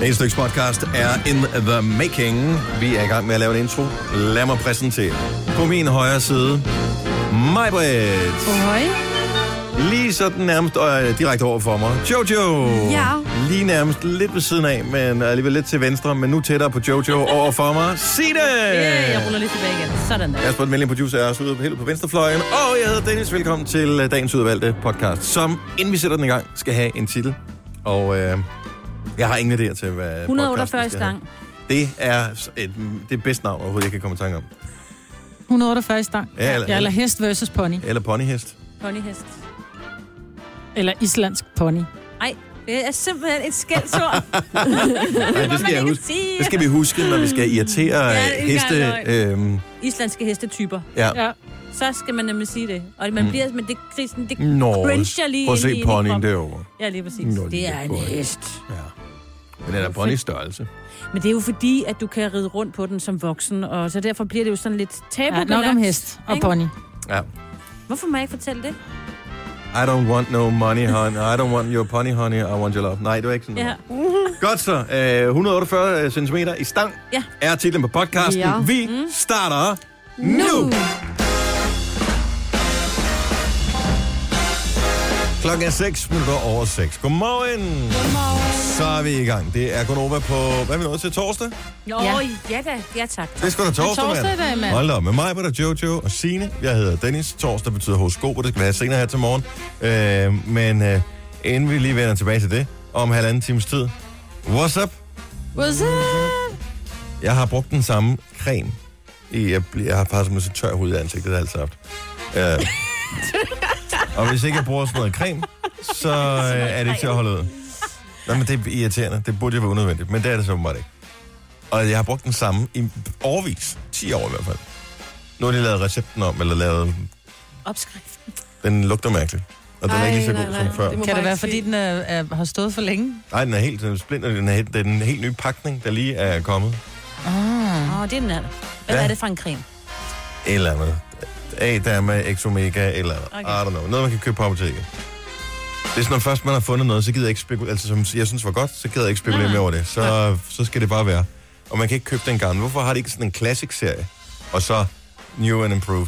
Dagens Lykkes podcast er in the making. Vi er i gang med at lave en intro. Lad mig præsentere. På min højre side, Majbrit. Hej. Lige sådan nærmest øh, direkte over for mig. Jojo. Ja. Lige nærmest lidt ved siden af, men alligevel lidt til venstre, men nu tættere på Jojo over for mig. Sine. Yeah, jeg ruller lige tilbage igen. Sådan der. Kasper, den venlige producer, er også ude på, helt på venstrefløjen. Og jeg hedder Dennis. Velkommen til øh, dagens udvalgte podcast, som, inden vi sætter den i gang, skal have en titel. Og øh, jeg har ingen idéer til, hvad Øh, podcasten 148 i skal stang. hedde. Det er s- et, det bedste navn overhovedet, jeg kan komme i tanke om. 148 i stang. Ja, eller- ja, eller hest versus pony. Eller ponyhest. Ponyhest. Eller islandsk pony. Ej, det er simpelthen et skældsord. Ej, det, skal jeg huske. sige. det skal vi huske, når vi skal irritere Ja, ja, det er ikke heste. engang Øhm, Islandske hestetyper. ja. Mm. Ja. Så skal man nemlig sige det. Og man bliver, men det grisen, det Nå, cringer lige prøv at ind i- se ind i ponyen kroppen. derovre. Ja, lige præcis. Nå, det lille er en pony. hest. Ja. Men den er ponys størrelse. Men det er jo fordi, at du kan ride rundt på den som voksen, og så derfor bliver det jo sådan lidt ja tabubelagt. nok om hest og ikke? pony. Ja. Hvorfor må jeg ikke fortælle det? I don't want no money, honey. I don't want your pony, honey. I want your love. Nej, det var ikke sådan Ja. noget. Godt så. Øh, 148 cm i stang Ja. Mm. er titlen på podcasten. Ja. Vi starter nu! Klokken er 6 minutter over 6. Godmorgen. Så er vi i gang. Det er Gunova på... Hvad er vi nået til? Torsdag? Nå, ja. Ja. ja da. Ja, tak. Det er sgu da torsdag, torsdag mand. i dag, mand. Hold da op. Med mig, der Jojo og Sine. Jeg hedder Dennis. Torsdag betyder horoskop, og det skal være senere her til morgen. Øh, men øh, inden vi lige vender tilbage til det, om halvanden times tid. What's up? What's Mm-hmm. up? Jeg har brugt den samme creme. I, jeg, bliver- jeg har faktisk med så tør hud i ansigtet, det har jeg altid haft. Øh, og hvis ikke jeg bruger sådan noget creme, så øh, er det ikke til at holde ud. Nå, men det er irriterende. Det burde jo være unødvendigt, men det er det så åbenbart ikke. Og jeg har brugt den samme i årvis. 10 år i hvert fald. Nu har de lavet recepten om, eller lavet... Opskrift. Den lugter mærkeligt. Og den er Ej, ikke lige så nej, god nej, som før. det må- Kan bare det være, ikke fordi se. den er, er, har stået for længe? Nej, den er helt den er splinter. Den er, helt- den er en helt ny pakning, der lige er kommet. Ah. Åh, oh, det er den her. Hvad Ja. ja. er det for en creme? Et eller andet. A-dama, Exomega, et eller andet. Okay. Okay. I don't know. Noget, man kan købe på apoteket. Det er sådan, når først man har fundet noget, så gider jeg ikke spekulere. Altså, som jeg synes var godt, så gider jeg ikke spekulere Nej. mere over det. Så, så skal det bare være. Og man kan ikke købe den gamle. Hvorfor har de ikke sådan en classic-serie? Og så new and improved.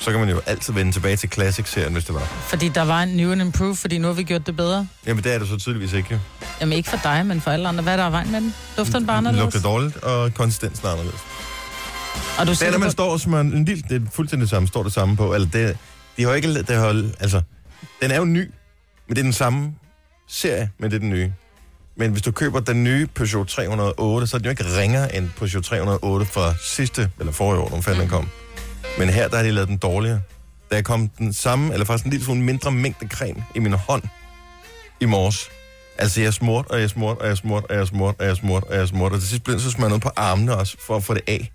Så kan man jo altid vende tilbage til classic-serien, hvis det var. Fordi der var en new and improved, fordi nu har vi gjort det bedre. Jamen, det er det så tydeligvis ikke, jo. Jamen ikke for dig, men for alle andre. Hvad er der af vejen med den? Dufter den bare Den lugter anderledes? dårligt, og konsistensen er anderledes. Og du Det er, når siger, man på... står og smører en lille, det er fuldstændig det samme, står det samme på. Eller det, de har jo ikke, det har, jo- altså, den er jo ny, men det er den samme serie, men det er den nye. Men hvis du køber den nye Peugeot 308, så er den jo ikke ringere end Peugeot 308 fra sidste, eller forrige år, når fanden den kom. Men her, der har de lavet den dårligere. Der kom den samme, eller faktisk en lille smule mindre mængde creme i min hånd i morges. Altså, jeg smurt, og jeg smurt, og jeg smurt, og jeg smurt, og jeg smurt, og jeg smurt. Og til sidst blev den så smurt noget på armene også, for at få det af.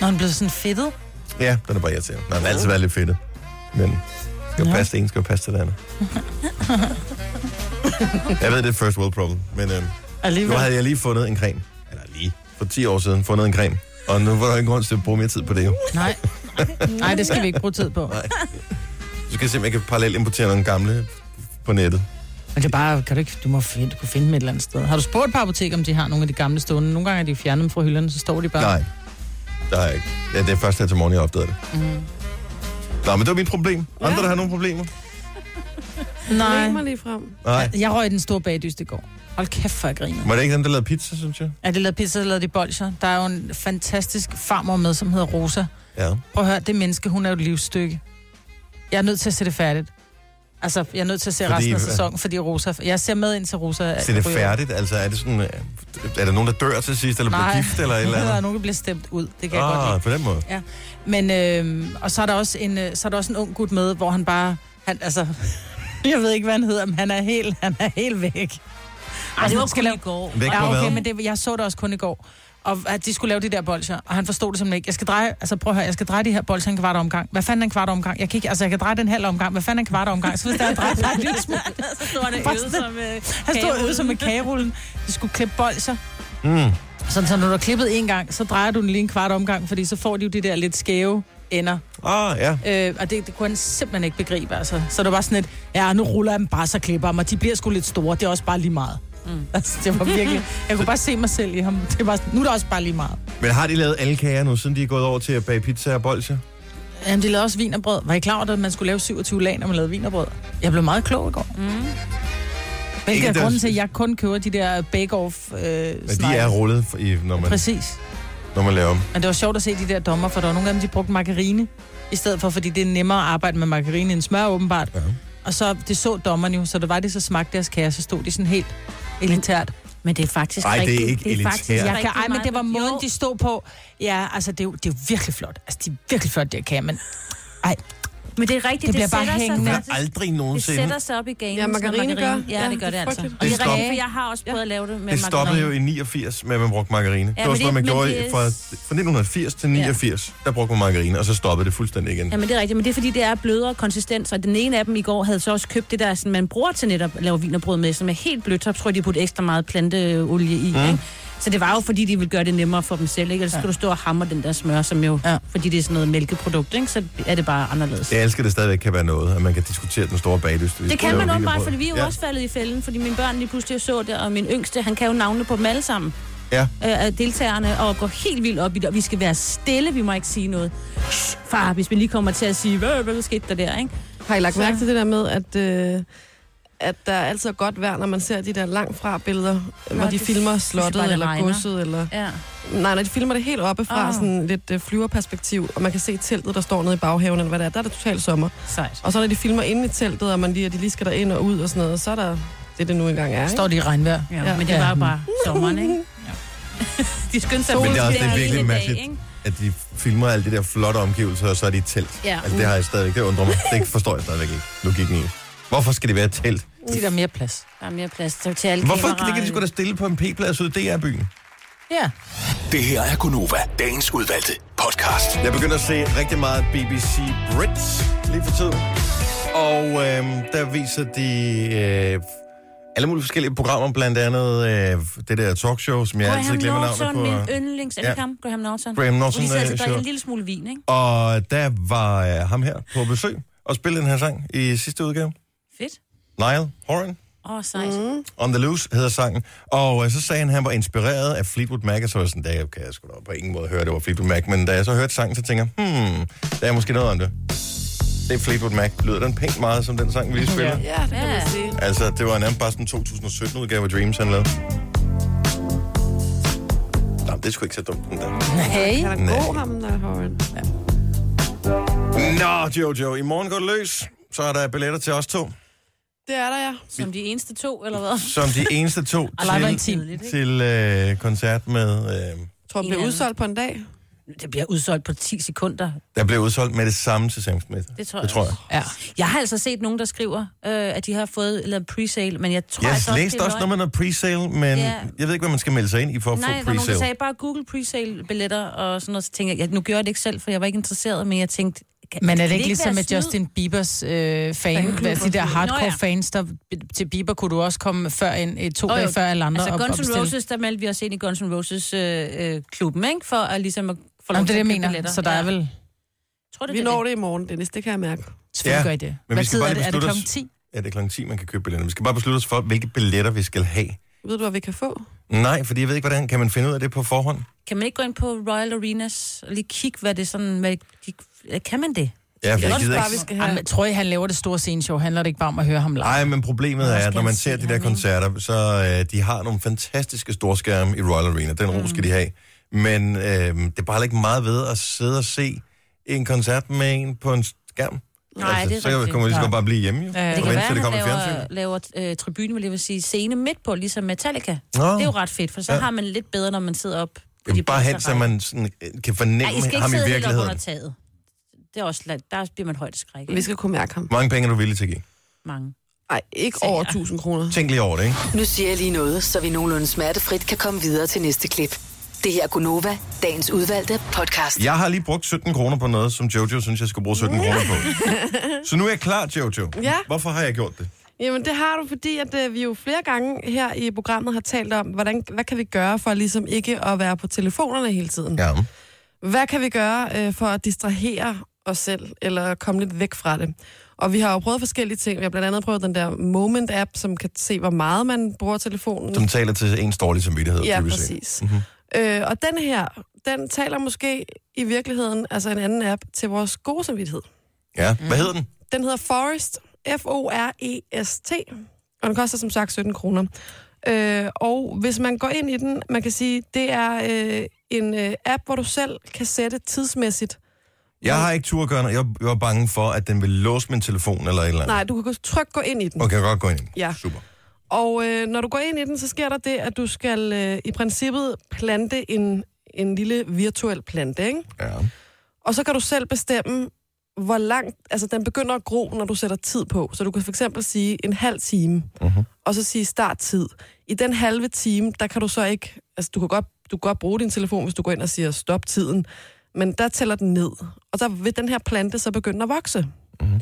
når den blev sådan fedtet. Ja, den er bare irriterende. Den har altid været lidt fedtet. Men skal jo Nå. passe til en, skal jo passe til det andet. jeg ved, det er et first world problem, men øh, nu Alligevel. havde jeg lige fundet en creme. Eller lige. For 10 år siden fundet en creme. Og nu var der ingen grund til at bruge mere tid på det jo. Nej. Nej, det skal vi ikke bruge tid på. Nej. Så skal jeg se, om jeg kan parallelt importere nogle gamle på nettet. Men det er bare, kan du ikke, du må finde, du kunne finde dem et eller andet sted. Har du spurgt på apotek, om de har nogle af de gamle stående? Nogle gange er de jo fjernet dem fra hylderne, så står de bare. Nej, der er ikke. Ja, det er først her til morgen, jeg opdagede det. Mm. Nå, men det var mit problem. Andre, der har nogle problemer? Læg Nej. mig lige frem. Nej. Jeg røg i den store bagdyst i går. Hold kæft, for jeg griner. Var det ikke dem, der lavede pizza, synes jeg? Er det lavet pizza, eller lavede de bolcher? Der er jo en fantastisk farmor med, som hedder Rosa. Ja. Prøv at høre, det menneske, hun er jo et livsstykke. Jeg er nødt til at se det færdigt. Altså, jeg er nødt til at se Fordi- fordi, resten af sæsonen, fordi Rosa... Jeg ser med ind til Rosa... Så det er Øh, ryger. færdigt? Altså, er det sådan... øh, Er der nogen, der dør til sidst, eller Nej. bliver gift, eller et eller Der er andet? nogen, der bliver stemt ud. Det kan jeg godt lide. Ah, på den måde. Men, øh, og så er, der også en, øh, så er der også en ung gut med, hvor han bare, han, altså, jeg ved ikke, hvad han hedder, men han er helt, han er helt væk. Ej, det var man skal kun i lave- går. Væk Ja, på hvad? okay, men det, jeg så det også kun i går. Og at de skulle lave de der bolcher, og han forstod det simpelthen ikke. Jeg skal dreje, altså prøv at høre, jeg skal dreje de her bolcher en kvart omgang. Hvad fanden er en kvart omgang? Jeg kan ikke, altså jeg kan dreje den halv omgang. Hvad fanden er en kvart omgang? Så hvis der er drejet bare en lille smule. Så står han og Bare øde sådan- som... Øh, Han stod og øvede sig med kagerullen. De skulle klippe bolcher. Mm. Sådan, så når du har klippet en gang, så drejer du den lige en kvart omgang, fordi så får de jo de der lidt skæve ender. Ah, ja. Øh, og det, det kunne han simpelthen ikke begribe, altså. Så det var sådan et, ja, nu ruller jeg dem bare så klipper ham, og de bliver sgu lidt store, det er også bare lige meget. Mm. Altså, det var virkelig... Jeg kunne bare se mig selv i ham. Det var, nu er det også bare lige meget. Men har de lavet alle kager nu, siden de er gået over til at bage pizza og bolcher? Jamen, de lavede også vinerbrød. Var I klar over, at man skulle lave 27 lag, når man lavede vinerbrød? Jeg blev meget klog i går. Mm. Ikke, det Hvilket er var- grunden til, at jeg kun køber de der bake-off øh, Men de er rullet, f- i, når, man, Præcis. når man laver dem. Men det var sjovt at se de der dommer, for der var nogle af dem, de brugte margarine i stedet for, fordi det er nemmere at arbejde med margarine end smør, åbenbart. Ja. Og så, det så dommeren jo, så det var det, så smagte deres kage, så stod de sådan helt elitært. Men det er faktisk Ej, det er rigtigt. ikke faktisk elitært. rigtig Jeg kan, ej, men meget- det var måden, Jo. de stod på. Ja, altså, det er jo, det er jo virkelig flot. Altså, de er virkelig flot, det kan, men ej, Men det er rigtigt, Det det, bliver det bare sætter hængende. sig Jeg faktisk. har aldrig Det nogensinde... sætter sig op i ganen. Ja, sådan margarine noget margarine. gør. Ja, Ja, det gør det det er altså. frygteligt. Og det Det er rigtigt, stopper. for jeg har også prøvet at lave det med Det stoppede jo margarine. i 89 med, at man brugte margarine. Ja, det men var også, hvad det- man men gjorde det- det... fra, fra 1980 til 89. Ja. Der brugte man margarine, og så stoppede det fuldstændig igen. Ja, men det er rigtigt, men det er fordi, det er blødere konsistens, og den ene af dem i går havde så også købt det der, sådan, man bruger til netop at lave vinerbrød med, som er helt blødt, så tror jeg, de putte ekstra meget planteolie i, mm. ikke? Så det var jo fordi, de ville gøre det nemmere for dem selv, ikke? Ellers ja. skulle du stå og hamre den der smør, som jo, Ja. ja. fordi det er sådan noget mælkeprodukt, ikke? Så er det bare anderledes. Ja. Jeg elsker, at det stadigvæk kan være noget, at man kan diskutere den store baglyst. Det kan man åbenbart, fordi vi er jo også faldet i fælden, fordi mine børn lige pludselig så det, og min yngste, han kan jo navne på dem alle sammen. Ja. øh, af deltagerne og går helt vildt op i det, og vi skal være stille, vi må ikke sige noget. Shh, far, hvis vi lige kommer til at sige, hvad, hvad skete der der, ikke? Har I lagt mærke til det der med, at, øh, at der er altid godt vejr, når man ser de der langt fra billeder, Nå, hvor de det filmer synes jeg bare, slottet det eller regner. godset? Eller... Ja. Nej, nej, de filmer det helt oppe fra Ah. oh. sådan lidt øh, flyverperspektiv, og man kan se teltet, der står nede i baghaven, eller hvad det er. Der er det totalt sommer. Sejt. Og så når de filmer inde i teltet, og man lige, og de lige skal derind og ud og sådan noget, så er der det, det nu engang er. Ikke? står de i regnvejr. Ja, Ja. men det var jo bare sommeren, ikke? De skyndte sig Men det er at også- det er filme virkelig hele mærkeligt. ikke? At de filmer alle de der flotte omgivelser, og så er de i telt. Ja. mm. Altså, det har jeg stadigvæk. Det undrer mig. Det forstår jeg stadigvæk ikke. Logikken i. Hvorfor skal det være et telt? De der er mere plads. Der er mere plads til til alle Hvorfor kan det kameraerne. kan de sgu da stille på en p-plads ude i DR-byen? Ja. Det her er Gonova, dagens udvalgte podcast. Jeg begynder at se rigtig meget BBC Brits lige for tiden. Og øh, der viser de øh, alle mulige forskellige programmer, blandt andet øh, det der talkshow, som jeg altid Graham glemmer Norton, min navnet på. yndlings. Er det Ja. ikke ham? Graham Graham Norton. Hvor de Norton. sidder øh, altid og drikker show. en lille smule vin, ikke? Og der var øh, ham her på besøg og spillede den her sang i sidste udgave. Fedt. Niall Horan. Åh, oh, sejt. Mm. On the Loose hedder sangen. Og øh, så sagde han, at han var inspireret af Fleetwood Mac, og så var jeg sådan, der kan jeg sgu da på ingen måde høre, det var Fleetwood Mac. Men da jeg så hørte sangen, så tænker jeg, hmm, der er måske noget om det. Det er Fleetwood Mac. Lyder den pænt meget som den sang, vi lige spiller? Ja, det kan man sige. Altså, det var nærmest bare sådan 2017-udgave af Dreams, han lavede. Nå, det er sgu ikke så dumt, den der. Hey. Han er god, ham der, Horan. Nå, Jojo, i morgen går det løs. Så er der billetter til os to, Det er der, ja. Som de eneste to, eller hvad? som de eneste to Live and til, Team. til øh, koncert med... Øh, Tror, den En bliver anden. udsolgt på en dag. Det bliver udsolgt på 10 sekunder. der blev udsolgt med det samme til Sam Smith. Det tror Det jeg tror jeg. Ja. Jeg har altså set nogen, der skriver, øh, at de har fået lavet presale, men jeg tror Jeg altså har læst det er også løgn. noget med noget presale, men Ja. jeg ved ikke, hvad man skal melde sig ind i for at Nej, få der var nogen, der presale. sagde bare Google presale-billetter og sådan noget. Så tænkte jeg, ja, nu gjorde jeg det ikke selv, for jeg var ikke interesseret, men jeg tænkte... Kan, Men er kan det ikke ligesom være med snyd? Justin Biebers øh, fan? Fanklub Hvad, de der og- hardcore Nå Nå, ja. ja. fans, der til Bieber kunne du også komme før en, øh, to Åh, oh, jo. dage før alle andre. Altså og Guns N' opstille. Roses, der meldte vi os ind i Guns N' Roses-klubben, øh, øh, klubben, ikke? For at ligesom at få lov Jamen, det til er det, jeg at købe mener. billetter. Så der Ja. er vel... Tror du, Vi når det i morgen, Dennis, det kan jeg mærke. Selvfølgelig Ja, gør I det. vi Hvad skal tid bare er lige det? Er det beslutte os. klokken 10? Ja, det er klokken 10, man kan købe billetter. Vi skal bare beslutte os for, hvilke billetter vi skal have. Ved du, hvad vi kan få? Nej, fordi jeg ved ikke, hvordan kan man finde ud af det på forhånd? Kan man ikke gå ind på Royal Arenas og lige kigge, hvad det sådan... Hvad øh, de, kan man det? Ja, for jeg også gider bare, vi ikke. skal have. Jamen, tror I, han laver det store sceneshow? Handler det ikke bare om at høre ham live? Nej, men problemet er, at når man skal ser jeg de se der ham, koncerter, så øh, de har nogle fantastiske storskærme i Royal Arena. Den ro Mm. skal de have. Men øh, det er bare heller ikke meget ved at sidde og se en koncert med en på en skærm. Altså, Nej, det er så kan rigtigt. man lige så godt bare blive hjemme, jo. Ja, Det kan være, at det han kommer i laver, fjernsynet. laver øh, tribune, vil jeg vil sige, scene midt på, ligesom Metallica. Nå. Det er jo ret fedt, for så Ja. har man lidt bedre, når man sidder op. på de Jamen, bare hen, bagerste så række. man sådan, øh, kan Ej, I fornemme skal ikke ham i sidde helt op under virkeligheden. taget. Det er også, la- der bliver man højt skræk. Vi skal kunne mærke ham. Hvor mange penge er du villig til at give? Mange. Nej, ikke over 1000 kroner. Tænk lige over det, ikke? Nu siger jeg lige noget, så vi nogenlunde smertefrit kan komme videre til næste klip. Det her er Gunova, dagens udvalgte podcast. Jeg har lige brugt 17 kroner på noget, som Jojo synes, jeg skulle bruge 17 kroner på. Så nu er jeg klar, Jojo. Ja. Hvorfor har jeg gjort det? Jamen, det har du, fordi at, øh, vi jo flere gange her i programmet har talt om, hvordan, hvad kan vi gøre for ligesom ikke at være på telefonerne hele tiden? Ja. Hvad kan vi gøre øh, for at distrahere os selv, eller komme lidt væk fra det. Og vi har jo prøvet forskellige ting. Vi har blandt andet prøvet den der Moment-app, som kan se, hvor meget man bruger telefonen. Som taler til ens dårlige samvittighed. Ja, dybest set. Mhm. præcis. Mm-hmm. Øh, og den her, den taler måske i virkeligheden, altså en anden app, til vores gode samvittighed. Ja, Mm-hmm. hvad hedder den? Den hedder Forest, F-O-R-E-S-T, E og den koster som sagt 17 kroner. Øh, og hvis man går ind i den, man kan sige, det er øh, en øh, app, hvor du selv kan sætte tidsmæssigt. Jeg har ikke tur at gøre noget. Jeg jeg var bange for, at den ville låse min telefon eller et eller andet. Nej, du kan gå- trygt gå ind i den. Okay, jeg kan godt gå ind. Ja. Super. Og øh, når du går ind i den, så sker der det, at du skal øh, i princippet plante en, en lille virtuel plante, ikke? Ja. Og så kan du selv bestemme, hvor langt... Altså, den begynder at gro, når du sætter tid på. Så du kan for eksempel sige en halv time, Mhm. uh-huh. og så sige starttid. I den halve time, der kan du så ikke... Altså, du kan godt, du kan godt bruge din telefon, hvis du går ind og siger stop tiden. Men der tæller den ned. Og der vil den her plante så begynde at vokse. Uh-huh.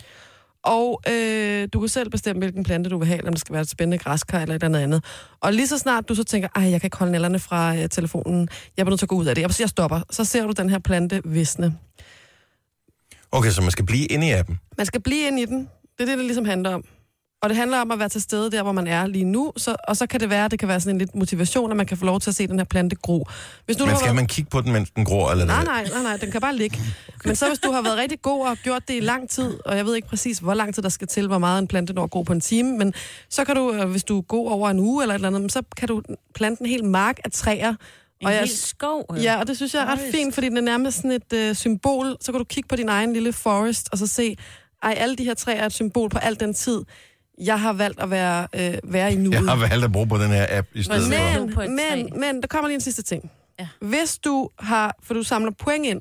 Og øh, du kan selv bestemme, hvilken plante du vil have, om det skal være et spændende græskar eller et eller andet. Og lige så snart du så tænker, ej, jeg kan ikke holde nælderne fra øh, telefonen, jeg bliver nødt til at gå ud af det, jeg, jeg stopper, så ser du den her plante visne. Okay, så man skal blive inde i appen. Man skal blive ind i den. Det er det, det ligesom handler om. Og det handler om at være til stede der, hvor man er lige nu. Så, og så kan det være, at det kan være sådan en lidt motivation, at man kan få lov til at se den her plante gro. Hvis nu Men du skal har været... man kigge på den, mens den gror? Eller Nej, hvad? nej, nej, nej, den kan bare ligge. Okay. Men så hvis du har været rigtig god og har gjort det i lang tid, og jeg ved ikke præcis, hvor lang tid der skal til, hvor meget en plante når at gro på en time, men så kan du, øh, hvis du er god over en uge eller et eller andet, men så kan du plante en hel mark af træer. En hel skov. øh. Ja, og det synes jeg er ret Forest. fint, fordi den er nærmest sådan et øh, symbol. Så kan du kigge på din egen lille forest, og så se, ej, alle de her træer er et symbol på al den tid, jeg har valgt at være, øh, være i nuet. Jeg har valgt at bruge på den her app i stedet Hvor for. nemt. på et men, træ. men, men der kommer lige en sidste ting. Ja. Hvis du har, for du samler point ind,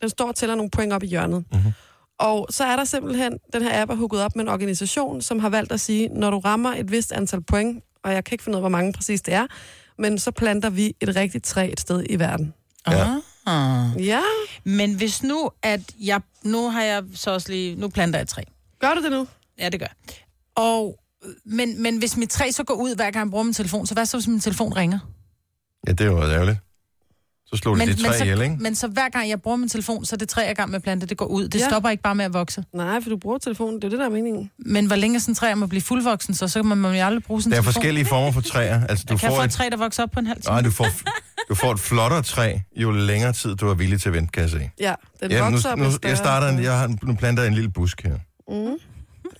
den står og tæller nogle point op i hjørnet, Mhm. mm-hmm. og så er der simpelthen, den her app er hugget op med en organisation, som har valgt at sige, når du rammer et vist antal point, og jeg kan ikke finde ud af, hvor mange præcis det er, men så planter vi et rigtigt træ et sted i verden. Ja. Ah. Ja, Men hvis nu, at jeg... Nu har jeg så også lige... Nu planter jeg et træ. gør du det nu? Ja, det gør jeg. Og... Men, men hvis mit træ så går ud, hver gang jeg bruger min telefon, så hvad så, hvis min telefon ringer? Ja, det er jo ærgerligt. Så slog de Men, de men, tre ihjel, så, ikke? men så hver gang jeg bruger min telefon, så er det træ, jeg er i gang med at plante, det går ud. Det Ja. ja. stopper ikke bare med at vokse. Nej, for du bruger telefonen. Det er jo det, der er meningen. Men hvor længe er sådan et træ om at blive fuldvoksen, så, så kan man, man jo aldrig bruge sin Der er telefon. forskellige former for træer. Altså, du Jeg kan får få et et, Ah, træ, der vokser op på en halv time. nej, du får, du får et flottere træ, jo længere tid du er villig til at vente, kan jeg se. Ja, den Ja, vokser nu, og nu, bliver jeg større. starter en, jeg har, nu planter jeg en lille busk her. Mm.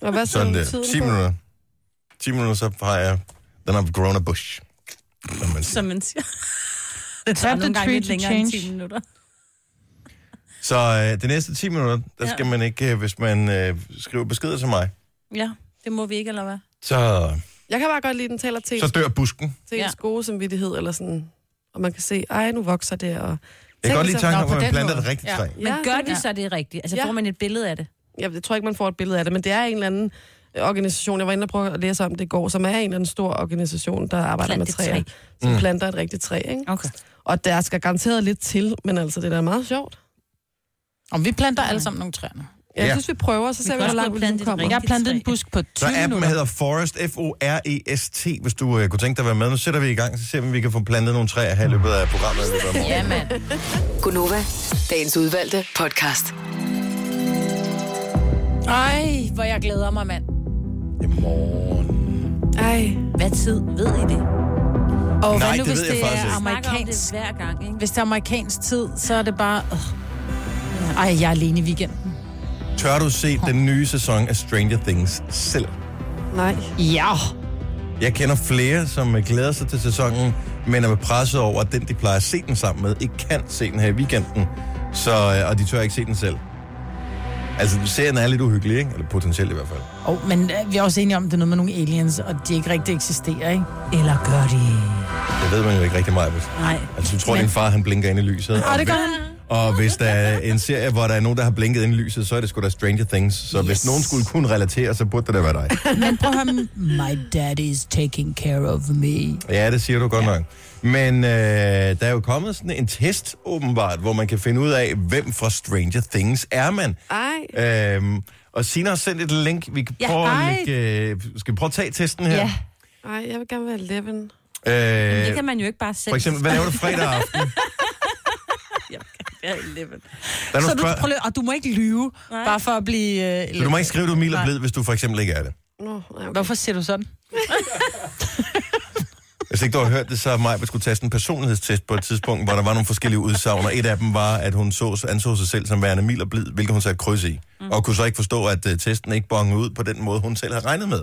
Og hvad Sådan sådan der. tiden 10 på? minutter. 10 minutter, så har jeg... Then I've grown a bush. Som man siger. Som man siger. Det Der er tager nogle nogle gange tree lidt to længere end change. 10 minutter. Så øh, de næste 10 minutter, der Ja. skal man ikke... Øh, hvis man øh, skriver beskeder til mig, Ja, det må vi ikke, eller hvad? så, Jeg kan bare godt lide, den taler til, så dør busken. til Ja. ens gode samvittighed, eller sådan, og man kan se, ej, nu vokser det, og... Jeg kan godt Tænk lide sig- tanken Nå, om, på at man den planter måde. et rigtigt Ja. træ. Men Ja, gør det- de så det rigtigt? Altså Ja. får man et billede af det? Jeg, jeg tror ikke, man får et billede af det, men det er en eller anden øh, organisation, jeg var inde og prøve at læse om det i går, som er en eller anden stor organisation, der arbejder Plant et med træer, træ. som mm. planter et rigtigt træ, ikke? Okay. Og der skal garanteret lidt til, men altså, det er da meget sjovt. Om vi planter alle sammen nogle træer. nu. Jeg Ja. synes, vi prøver, så ser vi, kan hvor også langt vi plante ligesom et kommer. rigtigt Jeg har plantet træ. en busk på 20 Så appen minutter. hedder Forest, F-O-R-E-S-T, hvis du øh, kunne tænke dig at være med. Nu sætter vi i gang, så ser vi, om vi kan få plantet nogle træer her i løbet af programmet. i løbet af morgenen. Ja, mand. Gunova, dagens udvalgte podcast. Ej, hvor jeg glæder mig, mand. Det er morgen. Ej, Hvad tid ved I det? Nej, Og hvad nu, det hvis ved jeg det faktisk er ikke. amerikansk? hver gang, ikke? Hvis det er amerikansk tid, så er det bare... Øh. Ej, jeg er alene i weekenden. Tør du se den nye sæson af Stranger Things selv? nej. Ja. Jeg kender flere, som øh, glæder sig til sæsonen, men er presset over, at den, de plejer at se den sammen med, ikke kan se den her i weekenden. Så, øh, og de tør ikke se den selv. Altså, serien er lidt uhyggelig, ikke? Eller potentielt i hvert fald. Oh, men øh, vi er også enige om, at det er noget med nogle aliens, og de ikke rigtig eksisterer, ikke? Eller gør de? Det ved man jo ikke rigtig meget. hvis- Nej. Altså, du tror, din far, han blinker ind i lyset. Og og det gør han. Og hvis der er en serie, hvor der er nogen, der har blinket ind i lyset, så er det sgu da Stranger Things. Så yes. hvis Yes. nogen skulle kunne relatere, så burde det da være dig. Men prøv at høre, my daddy is taking care of me. Ja, det siger du godt ja. nok. Men øh, der er jo kommet sådan en test, åbenbart, hvor man kan finde ud af, hvem fra Stranger Things er man. Ej. Øhm, og Sina har sendt et link. Vi kan Ja, prøve ej. at lægge, øh, skal vi prøve at tage testen her? Ja. Ej, jeg vil gerne være 11. Øh, Det kan man jo ikke bare selv. for eksempel, hvad laver du fredag aften? Der er Så nogle du, spørg- prøv lige, og du må ikke lyve, Nej. bare for at blive... Øh, så du må ikke skrive, du er mild og Nej. blid, hvis du for eksempel ikke er det. Nå, nej, okay. Hvorfor siger du sådan? Hvis ikke du har hørt det, så har Maja skulle tage sådan en personlighedstest på et tidspunkt, hvor der var nogle forskellige udsagn, og et af dem var, at hun så, anså sig selv som værende mild og blid, hvilket hun satte kryds i, mm. og kunne så ikke forstå, at uh, testen ikke bongede ud på den måde, hun selv havde regnet med.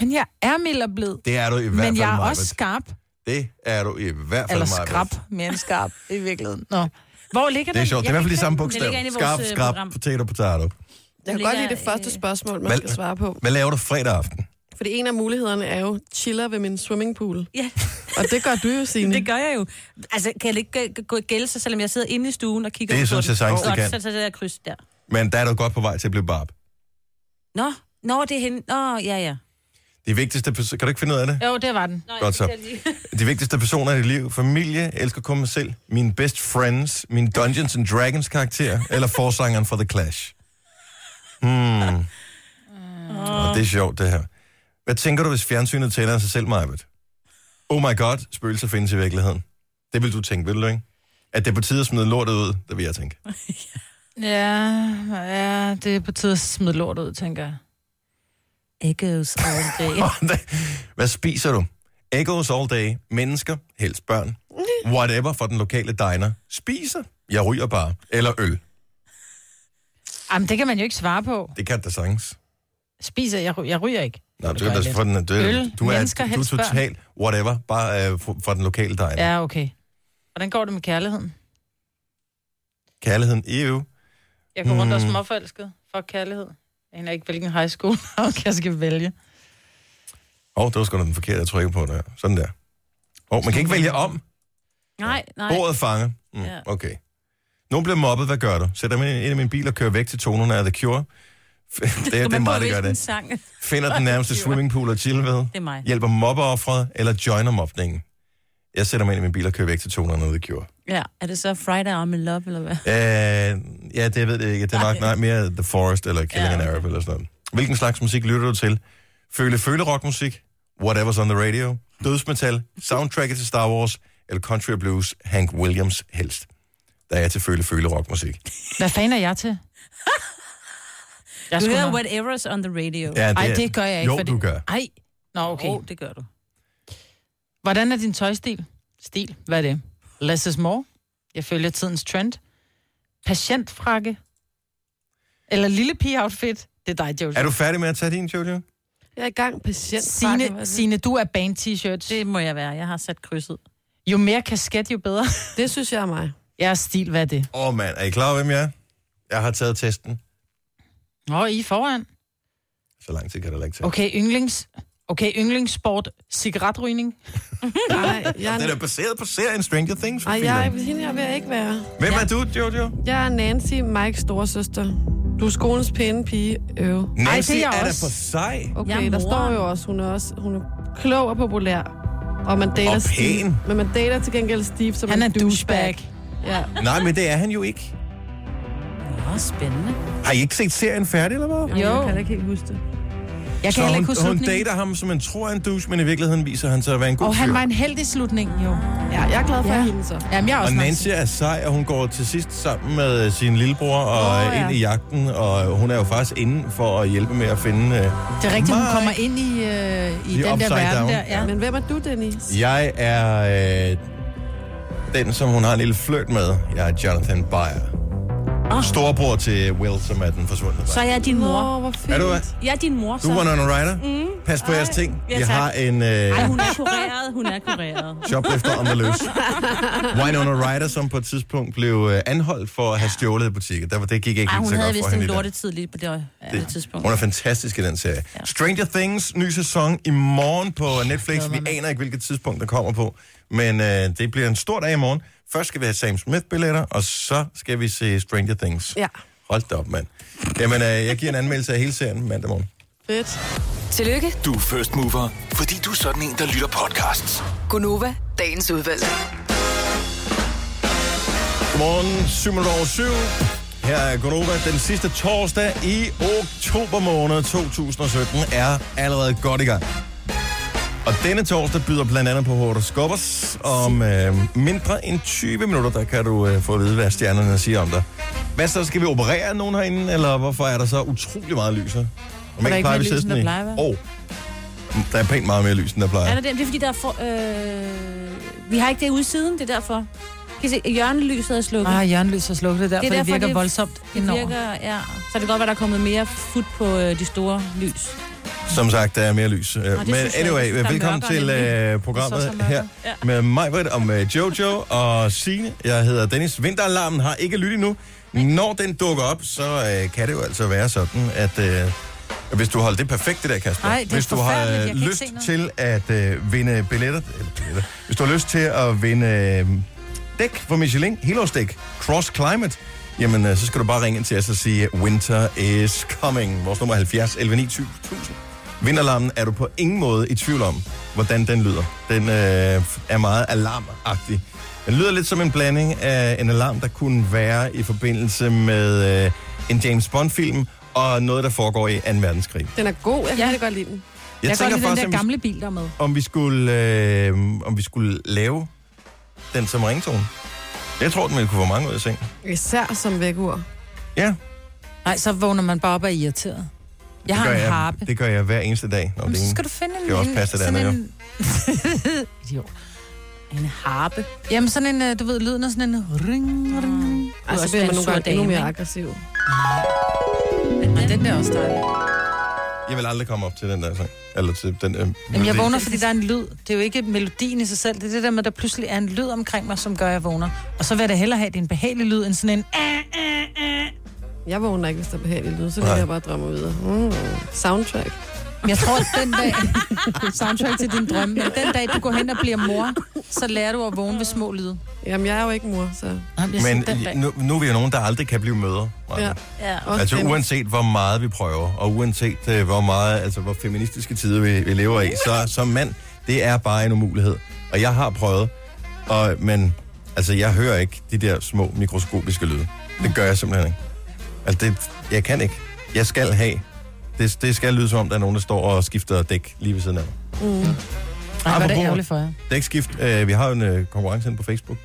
Men jeg er mild og blid. Det er du i hvert fald, Men jeg er Maja. også skarp. Det er du i hvert fald, Eller Maja. skrab. Mere end skarp, i virkeligheden. Nå. Hvor ligger Det er sjovt. Det er i hvert fald de samme Det bogstaver. ligger inde i vores, Skarp, øh, skarp, program. potato, potato. Jeg kan ligger, godt lide det første øh, spørgsmål, man Hvad- skal svare på. Hvad laver du fredag aften? Fordi en af mulighederne er jo, chiller ved min swimmingpool. Ja, Og det gør du jo, Signe. det gør jeg jo. Altså, kan jeg ikke g- gå gælde sig, selvom jeg sidder inde i stuen og kigger Det ud på synes den? jeg sagtens, det Godt, kan. Så tager det der kryds der. Men der er du godt på vej til at blive barb. Nå, nå, det er hende. Nå, ja, ja. De vigtigste personer... Kan du ikke finde ud af det? Jo, det var den. Nå, Godt så. jeg skal lige- De vigtigste personer i dit liv. Familie, elsker kun mig selv. Mine best friends. Min Dungeons and Dragons karakter. Eller forsangeren fra The Clash. Hmm. Og det er sjovt, det her. Hvad tænker du, hvis fjernsynet tænder sig selv, Majbet? Oh my god, spøgelser findes i virkeligheden. Det vil du tænke, vil du ikke? At det er på tide at smide lortet ud, det vil jeg tænke. Ja, ja, det er på tide at smide lort ud, tænker jeg. Echoes all day. Hvad spiser du? Echoes all day. Mennesker, helst børn. Whatever for den lokale diner. Spiser. Jeg ryger bare. Eller øl. Jamen, det kan man jo ikke svare på. Det kan det da sagtens. Spiser, jeg, ry- jeg ryger ikke. Nå, Det du, gør jeg du, lidt. for den, du, Øl, du er, mennesker, du er helst børn. total whatever, bare øh, for, for den lokale diner. Ja. Ja, okay. Hvordan går det med kærligheden? Kærligheden, EU. Jeg går rundt og er Hmm. småforelsket for kærlighed. Jeg aner ikke, hvilken high school jeg skal vælge. Åh, oh, det var sgu da den forkerte, jeg trykker på der. Sådan der. Åh, oh, man kan ikke vælge om. Nej, nej. Bordet fanger. Mm, Ja. Okay. Nogen bliver mobbet, hvad gør du? Sætter mig ind i min bil og kører væk til tonen af The Cure. det, er- det er man mig, på, der gør hvilken det. Sang. Det Finder den nærmeste swimmingpool at chill ved. er mig. Hjælper mobbeoffret eller joiner mobningen. Jeg sætter mig ind i min bil og kører væk til 200 noget, det gjorde. Ja, er det så Friday I'm in love, eller hvad? Øh, ja, det ved jeg ikke. Det er nok nej, mere The Forest eller Killing Ja, an okay. Arab eller sådan noget. Hvilken slags musik lytter du til? Føle føle rockmusik? Whatever's on the radio? Dødsmetal? Soundtracket til Star Wars? Eller country og blues? Hank Williams helst. Der er til føle føle rockmusik. Hvad fanden er jeg til? Jeg Du skulle hører nok- whatever's on the radio. Ja, Ej, det gør jeg ikke. Jo, fordi- du gør. Ej. Nå, okay. Jo, det gør du. Hvordan er din tøjstil? Stil, hvad er det? Less is more. Jeg følger tidens trend. Patientfrakke. Eller lille pige-outfit. Det er dig, Jojo. Er du færdig med at tage din, Jojo? Jeg er i gang patient. Signe, Signe, du er band-t-shirts. Det må jeg være. Jeg har sat krydset. Jo mere kasket, jo bedre. Det synes jeg er mig. Jeg er stil, hvad er det? Åh, oh, mand. Er I klar over, hvem jeg er? Jeg har taget testen. Nå, I er foran. Så lang tid kan det ikke tage. Okay, yndlings... Okay, yndlingssport, cigaretrygning. Nej, jeg Det er da er, baseret på serien Stranger Things. for Ej, filan. jeg, hende jeg vil jeg ikke være. Hvem er du, Jojo? Jeg er Nancy, Mikes storesøster. Du er skolens pæne pige, øv. Nancy det er er, jeg er da også. for sej. Jeg er Okay, der moren. står jo også, hun er også hun er klog og populær. Og man dater Og pæn. Steve. Men man dater til gengæld Steve som Han er en douchebag. Ja. Nej, men det er han jo ikke. Nå, spændende. Har I ikke set serien færdig, eller hvad? Jo. Jeg Jo. kan da ikke helt huske det. Jeg Så kan heller hun, ikke huske hun slutningen. dater ham, som man tror er en douche, men i virkeligheden viser han sig at være en god Og fyr. han var en heldig slutning, jo. Ja, jeg er glad for Ja. ja. hende så. Jamen, jeg er Og også Nancy er sej, og hun går til sidst sammen med øh, sin lillebror og Åh, oh, ja. ind i jagten, og hun er jo faktisk inde for at hjælpe med at finde... Øh. Det er rigtigt, hun Mike. kommer ind i, øh, i Vi er den der upside verden down. der. Ja. Men hvem er du, Dennis? Jeg er øh, den, som hun har en lille flirt med. Jeg er Jonathan Beyer. Åh. Ah. Oh. Storbror til Will, som er den forsvundne. dreng. Så er jeg din mor. Nå, hvor fint. Er du hvad? Jeg er din mor, så. Du er Winona Ryder. Mm. Pas på jeres ting. Ja, Jeg tak. har en øh, Ej, hun er kureret. Hun er kureret. shoplifter on the loose. Winona Ryder, som på et tidspunkt blev øh, anholdt for at have stjålet i butikker. Der, var- det gik ikke Ej, helt hun så havde godt vist for en hende. i den. lortetid lige på det, det. det tidspunkt. Hun er fantastisk i den serie. Ja. Stranger Things, ny sæson i morgen på Netflix. Vi aner ikke, hvilket tidspunkt den kommer på. Men øh, det bliver en stor dag i morgen. Først skal vi have Sam Smith-billetter, og så skal vi se Stranger Things. Ja. Hold da op, mand. Jamen, øh, jeg giver en anmeldelse af hele serien mandag morgen. Fedt. Tillykke, Du er first mover, fordi du er sådan en, der lytter podcasts. Gunova, dagens udvalgte. Godmorgen, 7 minutter over 7. Her er Gonova. Den sidste torsdag i oktober måned 2017 er allerede godt i gang. Og denne torsdag byder blandt andet på horoskopers. Om øh, mindre end 20 minutter, der kan du øh, få at vide, hvad stjernerne siger om dig. Hvad så? Skal vi operere nogen herinde, eller hvorfor er der så utrolig meget lys her? Om der ikke mere lys, end der plejer at der være? oh, der er pænt meget mere lys, end der plejer. Er der det? Det er fordi, der er for, øh, vi har ikke det ude siden, det er derfor. Kan I se, hjørnelyset er slukket. Ah, jernlys har slukket det, er derfor det, er derfor, det virker det, voldsomt Det enormt. virker, ja. Så det kan godt være, der er kommet mere fut på øh, de store lys. Som sagt, der er mere lys. Øh, det Men synes jeg anyway, ikke. Der er velkommen mørkere til nemlig. øh, programmet Det er så, så her mørkere. med Ja. mig, Britt, og med Jojo og Signe. Jeg hedder Dennis. Vinteralarmen har ikke lyttet nu. Når den dukker op, så øh, kan det jo altså være sådan, at øh, hvis du holder det perfekt, det der, Kasper. Ej, det er hvis du har øh, forfærdeligt. Jeg kan ikke lyst se noget. til at øh, vinde billetter, eller billetter, hvis du har lyst til at vinde øh, dæk for Michelin, helårsdæk, Cross Climate, jamen øh, så skal du bare ringe ind til os og sige, winter is coming. Vores nummer er 70 11 9000. Vinteralarmen er du på ingen måde i tvivl om, hvordan den lyder. Den øh, er meget alarmagtig. Den lyder lidt som en blanding af en alarm, der kunne være i forbindelse med øh, en James Bond-film og noget, der foregår i 2. verdenskrig. Jeg, Den er god, jeg kan Ja. ja. godt lide den. Jeg, jeg kan godt lide den faktisk, der om, vi, gamle bil, der er med. om, vi skulle, øh, om vi skulle lave den som ringtone. Jeg tror, den ville kunne få mange ud af seng. Især som vækkeur. Ja, Nej, så vågner man bare op og er irriteret. Jeg har gør en jeg, harpe. Det gør jeg hver eneste dag. Nå, Jamen, det er så en- skal du finde en... Det er også en- passet, det sådan andet, en... Idiot. En harpe. Jamen sådan en, øh, du ved, lyden er sådan en ring, ring. Altså, så også bliver være man en nogle sur gange endnu dame, mere ikke? aggressiv. Men den der er også dejlig. Jeg vil aldrig komme op til den der sang. Eller til den øh, Jamen, jeg melodi. vågner, fordi der er en lyd. Det er jo ikke melodien i sig selv. Det er det der med, at der pludselig er en lyd omkring mig, som gør, at jeg vågner. Og så vil jeg da hellere have, at det er en behagelig lyd, end sådan en... Jeg vågner ikke, hvis der er behagelig lyd, så Nej. kan jeg bare drømme videre. Mm. Soundtrack. Men Jeg tror, at den dag... Soundtrack til din drømme. Men den dag, du går hen og bliver mor, så lærer du at vågne ved små lyde. Jamen, jeg er jo ikke mor, så... Nej, jeg Men siger den dag. nu, nu er vi jo nogen, der aldrig kan blive mødre. Ja. Ja. Ja. Også Altså dem. uanset hvor meget vi prøver, og uanset øh, hvor meget, altså hvor feministiske tider vi, vi lever i, så som mand, det er bare en umulighed. Og jeg har prøvet, og, men altså jeg hører ikke de der små mikroskopiske lyde. Det gør jeg simpelthen ikke. Altså det, jeg kan ikke. Jeg skal have. Det, det skal lyde som om, der er nogen, der står og skifter dæk lige ved siden af mig. Mm. Ej, var det apropos- ærgerligt for jer. Dækskift, øh, vi har jo en øh, konkurrence inde på Facebook.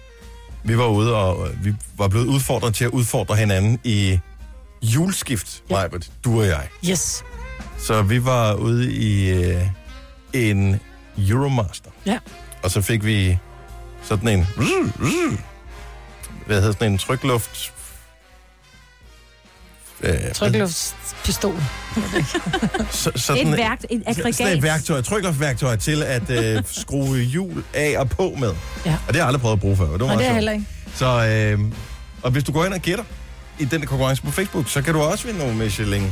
Vi var ude, og øh, vi var blevet udfordret til at udfordre hinanden i juleskift, ja. Majbert, du og jeg. Yes. Så vi var ude i øh, en Euromaster. Ja. Og så fik vi sådan en... Hvad hedder sådan en trykluft... Øh, Trykløftspistol. så, Et sådan, værkt, et aggregat. Sådan et værktøj, et trykluftværktøj til at øh, skrue hjul af og på med. Ja. Og det har jeg aldrig prøvet at bruge før. og Det var Og meget det er sjovt. heller ikke. Så, øh, og hvis du går ind og gætter i den der konkurrence på Facebook, så kan du også vinde nogle Michelin.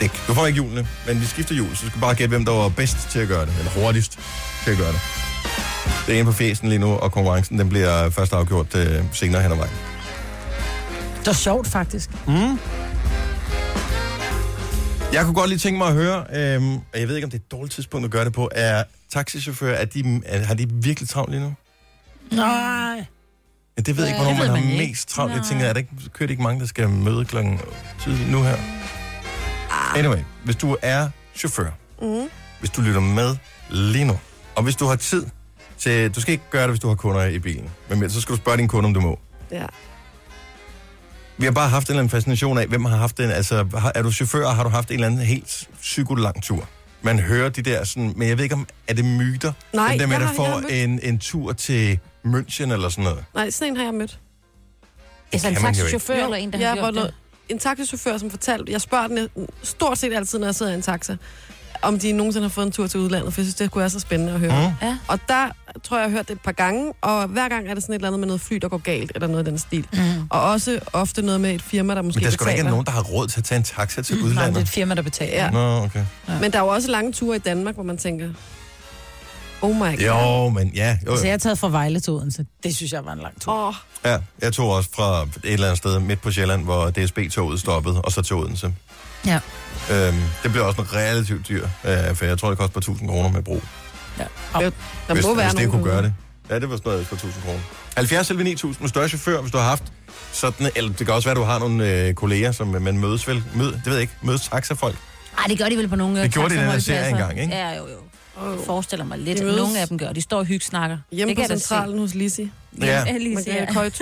Dæk. Du får ikke julene, men vi skifter jul, så du skal bare gætte, hvem der var bedst til at gøre det, eller hurtigst til at gøre det. Det er inde på fjesen lige nu, og konkurrencen den bliver først afgjort øh, senere hen ad vejen. Mm. Det var sjovt, faktisk. Jeg kunne godt lige tænke mig at høre, øh, og jeg ved ikke, om det er et dårligt tidspunkt at gøre det på, er taxichauffører, er de, er, har de virkelig travlt lige nu? Nej. Ja, det ved jeg ikke, hvornår Ja, det ved man, man man har ikke. mest travlt. Jeg tænker, er der ikke, kører det ikke mange, der skal møde klokken tidligt nu her? Ah. Anyway, hvis du er chauffør, Mm. hvis du lytter med lige nu, og hvis du har tid til... Du skal ikke gøre det, hvis du har kunder i bilen. Men så skal du spørge din kunde, om du må. Ja. Vi har bare haft en eller anden fascination af, hvem har haft den... Altså, har- er du chauffør, og har du haft en eller anden helt psykolang tur? Man hører de der sådan... Men jeg ved ikke, om er det myter? Nej, dem, jeg der har- jeg har får mødt- en, en tur til München eller sådan noget. Nej, sådan en har jeg mødt. Altså en kan man jo ikke. taxichauffør Jo, eller en, der jeg har gjort var det. En taxichauffør, som fortalte, jeg spørger den næ- stort set altid, når jeg sidder i en taxa, om de nogensinde har fået en tur til udlandet, for jeg synes, det kunne være så spændende at høre. Mm. Ja. Og der tror jeg, jeg har hørt det et par gange, og hver gang er det sådan et eller andet med noget fly, der går galt, eller noget af den stil. Mm. Og også ofte noget med et firma, der måske Men der skal da betaler. ikke være nogen, der har råd til at tage en taxa til Mm, Nej, det er udlandet. et firma, der betaler. Ja. Nå, okay. Men der er jo også lange ture i Danmark, hvor man tænker, oh my god. Jo, men ja. Jo, Så Altså, jo. jeg har taget fra Vejle til Odense. Det synes jeg var en lang tur. Åh, ja. Jeg tog også fra et eller andet sted midt på Sjælland, hvor DSB-toget stoppede, og så til Odense. Ja. Øhm, det blev også en relativt dyr øh, for jeg tror, det kostede et par 1000 kroner med brug. der hvis, må være hvis det kunne nogen derude. gøre det. Ja, det var sådan noget for 1000 kroner. 70 eller 9000 med større chauffør, hvis du har haft sådan, eller det kan også være, at du har nogle øh, kolleger, som øh, man mødes vel, mød, det ved jeg ikke, mødes taxafolk. Ej, det gør de vel på nogle... øh, Det gjorde de i den her serie taxaholdepladser. engang, ikke? Ja, jo, jo. Jeg forestiller mig lidt, De at mødes. nogle af dem gør. De står og hyggesnakker. Hjemme det på kan jeg da se. centralen hos Lizzie. Ja. Ja, lige Man se, kan ja. køjt.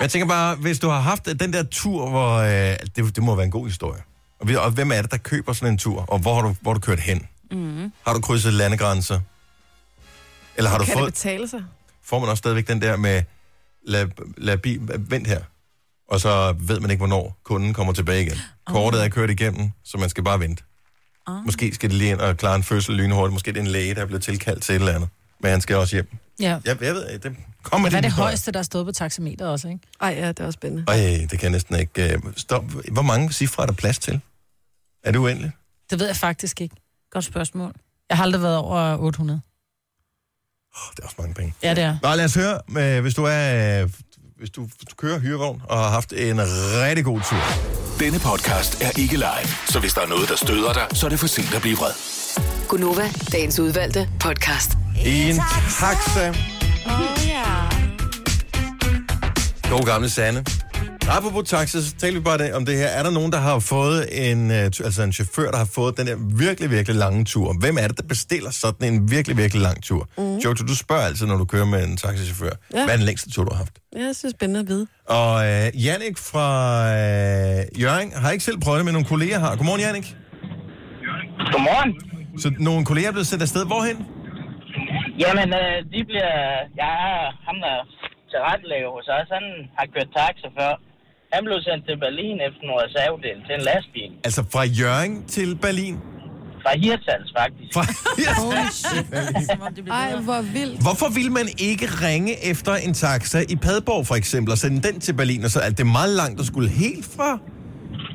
Jeg tænker bare, hvis du har haft den der tur, hvor... Øh, det, det må være en god historie. Og, vi, og hvem er det, der køber sådan en tur? Og hvor har du, hvor har du kørt hen? Mhm. Mm. Har du krydset landegrænser? Eller har du Kan det fået... betale sig? Får man også stadigvæk den der med... Lad, lad bi, vent her. Og så ved man ikke, hvornår kunden kommer tilbage igen. Kortet er kørt igennem, så man skal bare vente. Ah. Måske skal det lige ind og klare en fødsel lynhurtigt. Måske er det en læge, der er blevet tilkaldt til et eller andet. Men han skal også hjem. Ja. Jeg, jeg ved ikke, det kommer Hvad er det højeste, der er stået på taxameteret også, ikke? Ej, ja, det er også spændende. Ej, det kan jeg næsten ikke. øh, Stop. Hvor mange cifre er der plads til? Er det uendeligt? Det ved jeg faktisk ikke. Godt spørgsmål. Jeg har aldrig været over 800. Oh, det er også mange penge. Ja, det er. Nå, lad os høre, øh, hvis du er... øh, Hvis du, hvis du kører hyrevogn og har haft en rigtig god tur. Denne podcast er ikke live, så hvis der er noget, der støder dig, så er det for sent at blive vred. Gunova, dagens udvalgte podcast. I en taxa. God gamle Sanne. Apropos taxa, så taler vi bare det- om det her. Er der nogen, der har fået en, øh, tu- altså en chauffør, der har fået den der virkelig, virkelig lange tur? Hvem er det, der bestiller sådan en virkelig, virkelig lang tur? Mm. Jojo, du spørger altid, når du kører med en taxichauffør. Ja. Ja. Hvad er den længste tur, du har haft? Ja, jeg synes, det er spændende at vide. Og øh, Jannik fra øh, Jørgen har ikke selv prøvet det, men nogle kolleger har. Godmorgen, Jannik. Godmorgen. Så nogle kolleger er blevet sendt afsted. Hvorhen? Jamen, øh, de bliver... Jeg er ham, der tilrettelægger hos os. Han har kørt taxa før. Han blev sendt til Berlin efter en reservedel til en lastbil. Altså fra Jørgen til Berlin. Fra Hirtals, faktisk. Fra... Som om det bliver Ej, hvor vildt. Hvorfor vil man ikke ringe efter en taxa i Padborg for eksempel, og sende den til Berlin? Og så er det meget langt at skulle helt fra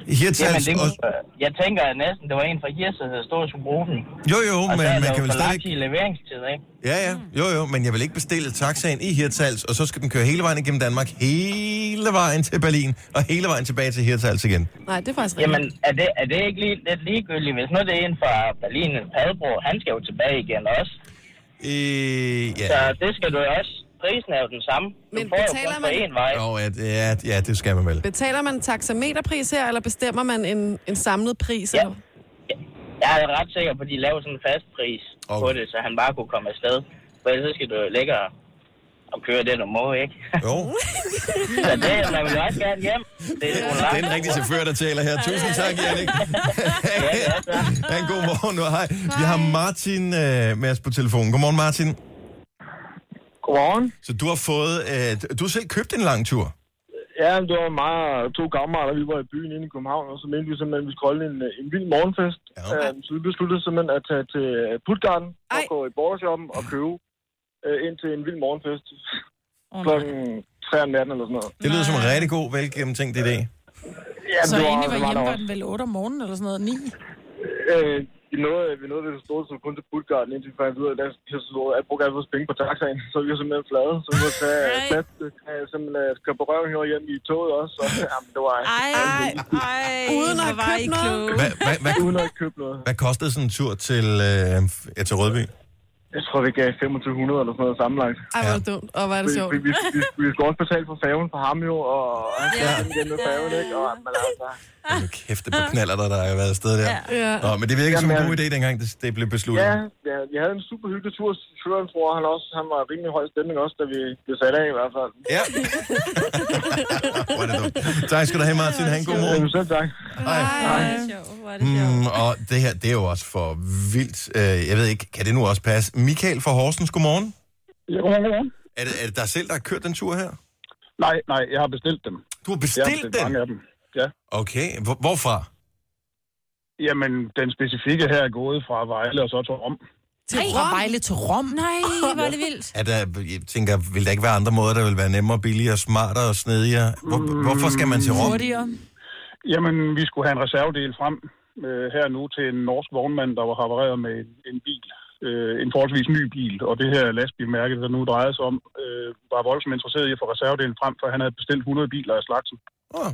Jamen, Hirtals. det, Og... øh, jeg tænker at næsten, det var en fra Hirtals, der stod og skulle bruge den. Jo, jo, Og men så er der man jo kan vel for lang stadig... tid leveringstid, ikke? Ja, ja. Jo, jo, men jeg vil ikke bestille taxaen i Hirtshals, og så skal den køre hele vejen igennem Danmark, hele vejen til Berlin, og hele vejen tilbage til Hirtshals igen. Nej, det er faktisk rigtigt. Jamen, er det, er det ikke lige, lidt ligegyldigt, hvis nu det er en fra Berlin eller Padborg? Han skal jo tilbage igen også. Øh, Så ja. det skal du jo også. Prisen er jo den samme. Du Men får jo betaler kun for man- én vej. Jo, ja, det- ja, ja, det skal man vel. Betaler man taxameterpris her, eller bestemmer man en, en samlet pris? Ja. Eller? Jeg er ret sikker på, at de laver sådan en fast pris okay. på Okay. det, så han bare kunne komme afsted. For ellers så skal du jo ligge og- og køre det, du må, ikke? Jo, så det, man vil jo også gerne hjem. Det er sgu det er en langt. rigtig chauffør, der taler her. Tusind tak, Jannik. Ha' en god morgen og hej. Vi har Martin øh, med os på telefonen. Godmorgen, Martin. Godmorgen. Så du har fået, øh, du har selv købt en lang tur. Ja, men det var mig og to kammerater, vi var i byen inde i København, og så mente vi simpelthen, at vi skulle holde en, en vild morgenfest. Ja. Øhm, så vi besluttede simpelthen at tage til øh, Puttgarden og Ej. gå i borgershoppen og købe øh, ind til en vild morgenfest oh, klokken 3 om natten eller sådan noget. Det lyder som en rigtig god, velgennemtænkt idé. Ja, Så det egentlig var det der hjemme var også. den vel 8 om morgenen eller sådan noget, 9? Øh, vi nåede, vi nåede ved det store, så kun til Puttgarden, indtil vi fandt ud af, at jeg jeg brugte alle vores penge på taxaen, så vi var simpelthen flade. Så vi måtte tage, Ej. tage, tage simpelthen øh, køre på røven her hjem i toget også. Så, jamen, det var Ej, ej. Uden at hvor var købe I noget. kloge. Hvad, hvad, hvad, uden at købe noget. hvad kostede sådan en tur til, øh, ja, til Rødby? Jeg tror, vi gav 2500 eller sådan noget sammenlagt. Ej, hvor er det dumt. Og hvor er det Vi, sjovt. vi, vi, vi, vi skulle også betale for færgen for ham jo, og han skal ja. igen med færgen, ikke? Og, men altså, Nu kæft, det på knaller, der har været afsted der. Ja. Nå, men det virker som en Jamen, god idé, dengang det, det blev besluttet. ja, ja, vi havde en super hyggelig tur. Chaufføren tror han også, han var rimelig høj stemning også, da vi blev sat af i hvert fald. Ja. Hvor er det dumt. tak skal du have, Martin. Ha' en god morgen. Øh, Selv tak. Ej. Mm, og det her, det er jo også for vildt. Øh, jeg ved ikke, kan det nu også passe? Michael fra Horsens, godmorgen. Ja, godmorgen, godmorgen. Er det, er det dig selv, der har kørt den tur her? Nej, nej, jeg har bestilt dem. Du har Jeg har bestilt bestilt den? mange af dem. Ja. Okay, hvor, hvorfra? Jamen, den specifikke her er gået fra Vejle og så til Rom. Til Ej, fra Vejle til Rom? Nej, hvor er det vildt. Er der, jeg tænker, vil der ikke være andre måder, der vil være nemmere, billigere, smartere og snedigere? Hvor, Hvorfor skal man til Rom? Hurtigere. Jamen, vi skulle have en reservedel frem øh, her nu til en norsk vognmand, der var havareret med en, en bil. Øh, en forholdsvis ny bil, og det her lastbilmærke, der nu drejer sig om, øh, var voldsomt interesseret i at få reservedelen frem, for han havde bestilt 100 biler af slagsen. Oh,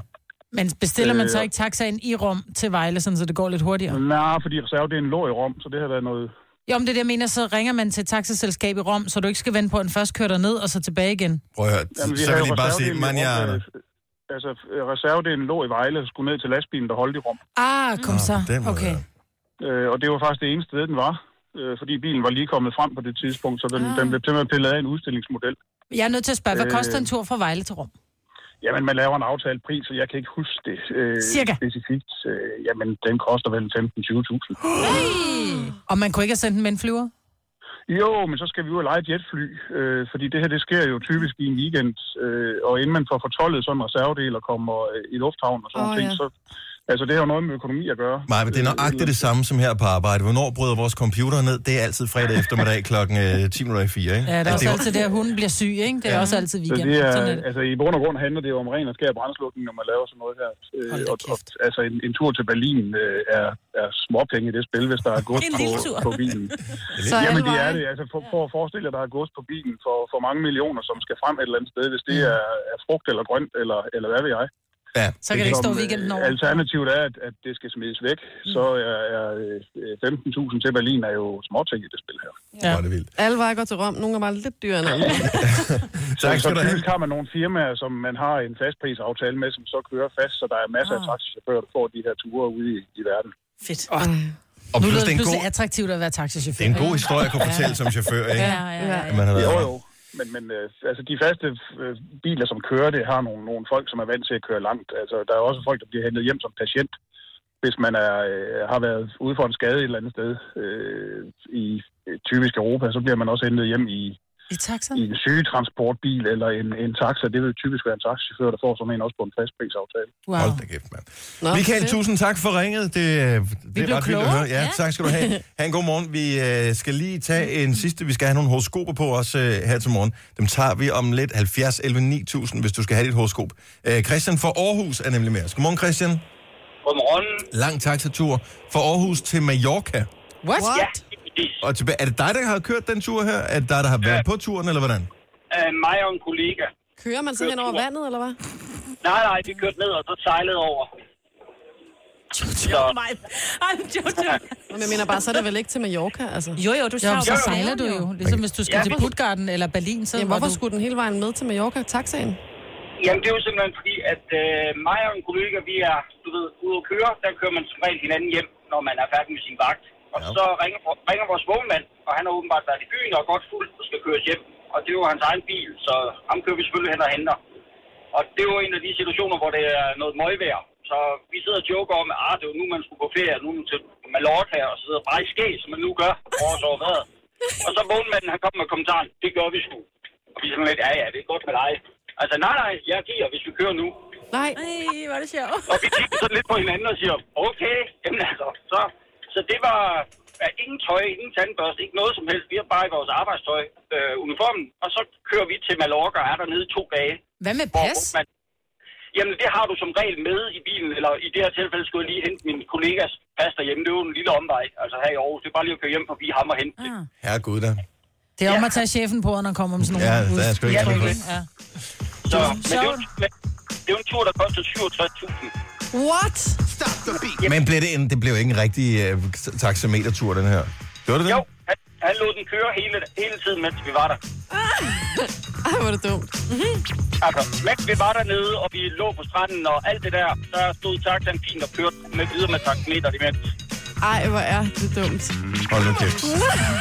Men bestiller man så Øh, Mm. ikke taxaen i Rom til Vejle, sådan, så det går lidt hurtigere? Nej, fordi reservedelen lå i Rom, så det har været noget... Jo, men det er det, jeg mener, så ringer man til et taxaselskab i Rom, så du ikke skal vende på, at den først kører dig ned og så tilbage igen. prøv at høre, Jamen, så havde vil de jo bare sige, reservedelen i man, Rom, jeg... øh, Altså, øh, reservedelen lå i Vejle og skulle ned til lastbilen, der holdt i Rom. Ah, kom Nå, så. på den måde. Okay. Øh, og det var faktisk det eneste sted, den var, øh, fordi bilen var lige kommet frem på det tidspunkt, så den, ah. den blev simpelthen pillet af en udstillingsmodel. Jeg er nødt til at spørge, hvad Øh. koster en tur fra Vejle til Rom? Jamen, man laver en aftalt pris, og jeg kan ikke huske det øh, Cirka. specifikt. Øh, jamen, den koster vel 15-20.000. Og man kunne ikke have sendt den med en flyver? Jo, men så skal vi jo lege et jetfly, øh, fordi det her, det sker jo typisk i en weekend, øh, og inden man får fortollet sådan en reservedel og kommer øh, i lufthavn og sådan Åh, oh, ting, ja. ja. så... Altså, det har jo noget med økonomi at gøre. Nej, men det er nøjagtigt det samme som her på arbejde. Hvornår bryder vores computer ned? Det er altid fredag eftermiddag øh, kl. 10.04, ikke? Ja, det er altså, det også er jo- altid det, at hunden bliver syg, ikke? Det er også altid Så weekend. det er, Sådan er det. altså i bund og grund handler det jo om ren og skær brændslukning, når man laver sådan noget her. Øh, Hold da og, og, kæft. altså en, en tur til Berlin øh, er, er småpenge i det spil, hvis der er gods Det er en på, lille tur. på bilen. Så Jamen alle det er veje. det. Altså for, for at forestille jer, der er gods på bilen for, for mange millioner, som skal frem et eller andet sted, hvis det er, er frugt eller grønt eller, eller hvad ved jeg. Mm. Ja, Så kan det ikke stå Som, øh, weekenden over. Mm. Alternativet er, at, at det skal smides væk. Så er, er øh, 15.000 til Berlin er jo småting i det spil her. ja. Ja. det er vildt. Alle veje går til Rom. Nogle er bare lidt dyrere end andre. Tak så skal du have. typisk har man nogle firmaer, som man har en fastprisaftale med, som så kører fast, så der er masser af taxichauffører, der får de her ture ude i, i verden. Ah. Fedt. Og Nu plus, lyder det er det en pludselig god, attraktivt at være det taxichauffør. er en god historie at kunne fortælle som chauffør, ikke? Ja, ja, ja. At Man har været Jo, oppe. jo. Men, men øh, altså, de faste øh, biler, som kører det, har nogle, nogle folk, som er vant til at køre langt. Altså, der er også folk, der bliver hentet hjem som patient, hvis man er, øh, har været ude for en skade et eller andet sted øh, i øh, typisk Europa, så bliver man også hentet hjem i, I taxa? i en sygetransportbil eller en, en taxa. Det vil typisk være en taxichauffør, der får sådan en også på en fastprisaftale. Wow. Hold da kæft, mand. Nå, Michael, fedt. tusind tak for ringet. Det, øh, blev det er ret vildt at klogere. høre. Ja, ja, tak skal du have. Ha' en god morgen. Vi øh, skal lige tage en sidste. Vi skal have nogle horoskoper på os øh, her til morgen. Dem tager vi om lidt 70 11 9000, hvis du skal have dit horoskop. Øh, Christian fra Aarhus er nemlig med os. Godmorgen, Christian. Godmorgen. Lang taxatur fra Aarhus til Mallorca. What? What? Ja, lige præcis. Og tilbage. Er det dig, der har kørt den tur her? Er det dig, der har været på turen, eller hvordan? Uh, mig og en kollega. Kører man så hen over vandet, eller hvad? Nej, nej, vi kørte ned og så sejlede over. Jojo, mig. Ej, Jojo. Nå, men Jeg mener bare, så er det vel ikke til Mallorca, altså. Jo, jo, du Jo, tager men så sejler du jo. Ligesom hvis du skal Ja. til Puttgarden eller Berlin, så Jamen, var hvorfor du... skulle den hele vejen med til Mallorca, taxaen? Jamen, det er jo simpelthen fordi, at øh, mig og en kollega, vi er, du ved, ude at køre. Der kører man som regel hinanden hjem, når man er færdig med sin vagt. Og Ja. ja. så ringer, ringer vores vognmand, og han har åbenbart været i byen og er godt fuld og skal køres hjem. Og det er jo hans egen bil, så ham kører vi selvfølgelig hen og henter. Og det er jo en af de situationer, hvor det er noget møgvejr. Så vi sidder og joker om, at ah, det var nu, man skulle på ferie, nu er man til Mallorca, og sidder bare i ske, som man nu gør, for os over vejret. Og så vognmanden, han kom med kommentaren, det gør vi sgu. Og vi er sådan lidt, ja ja, det er godt med dig. Altså nej nej, jeg giver, hvis vi kører nu. Nej, Ej, hvor er det sjovt. Og vi kigger sådan lidt på hinanden og siger, okay, jamen altså, så, så det var ja, ingen tøj, ingen tandbørste, ikke noget som helst. Vi har bare i vores arbejdstøj, øh, uniformen, og så kører vi til Mallorca og er dernede i to dage. Hvad med Hvor pas? man, jamen, det har du som regel med i bilen, eller i det her tilfælde skulle jeg lige hente min kollegas pas derhjemme. Det er jo en lille omvej, altså her i Aarhus. Det er bare lige at køre hjem forbi ham og hente det. Ah. Herregud da. Det er om at tage chefen på, når han kommer om sådan nogle Ja, der er sgu ikke udtryk, noget. ikke? Ja. Så, men det er jo, men det er jo en tur, der koster 67.000. what? Men blev det, en, det blev ikke en rigtig øh, taxametertur, den her. Gjorde det det? Jo, han, han lod den køre hele, hele tiden, mens vi var der. Ej, hvor er det dumt. Mhm. Altså, mens vi var dernede, og vi lå på stranden og alt det der, der stod taxaen fint og kørte med videre med taxameter imens. Ej, hvor er det dumt. Hold nu kæft.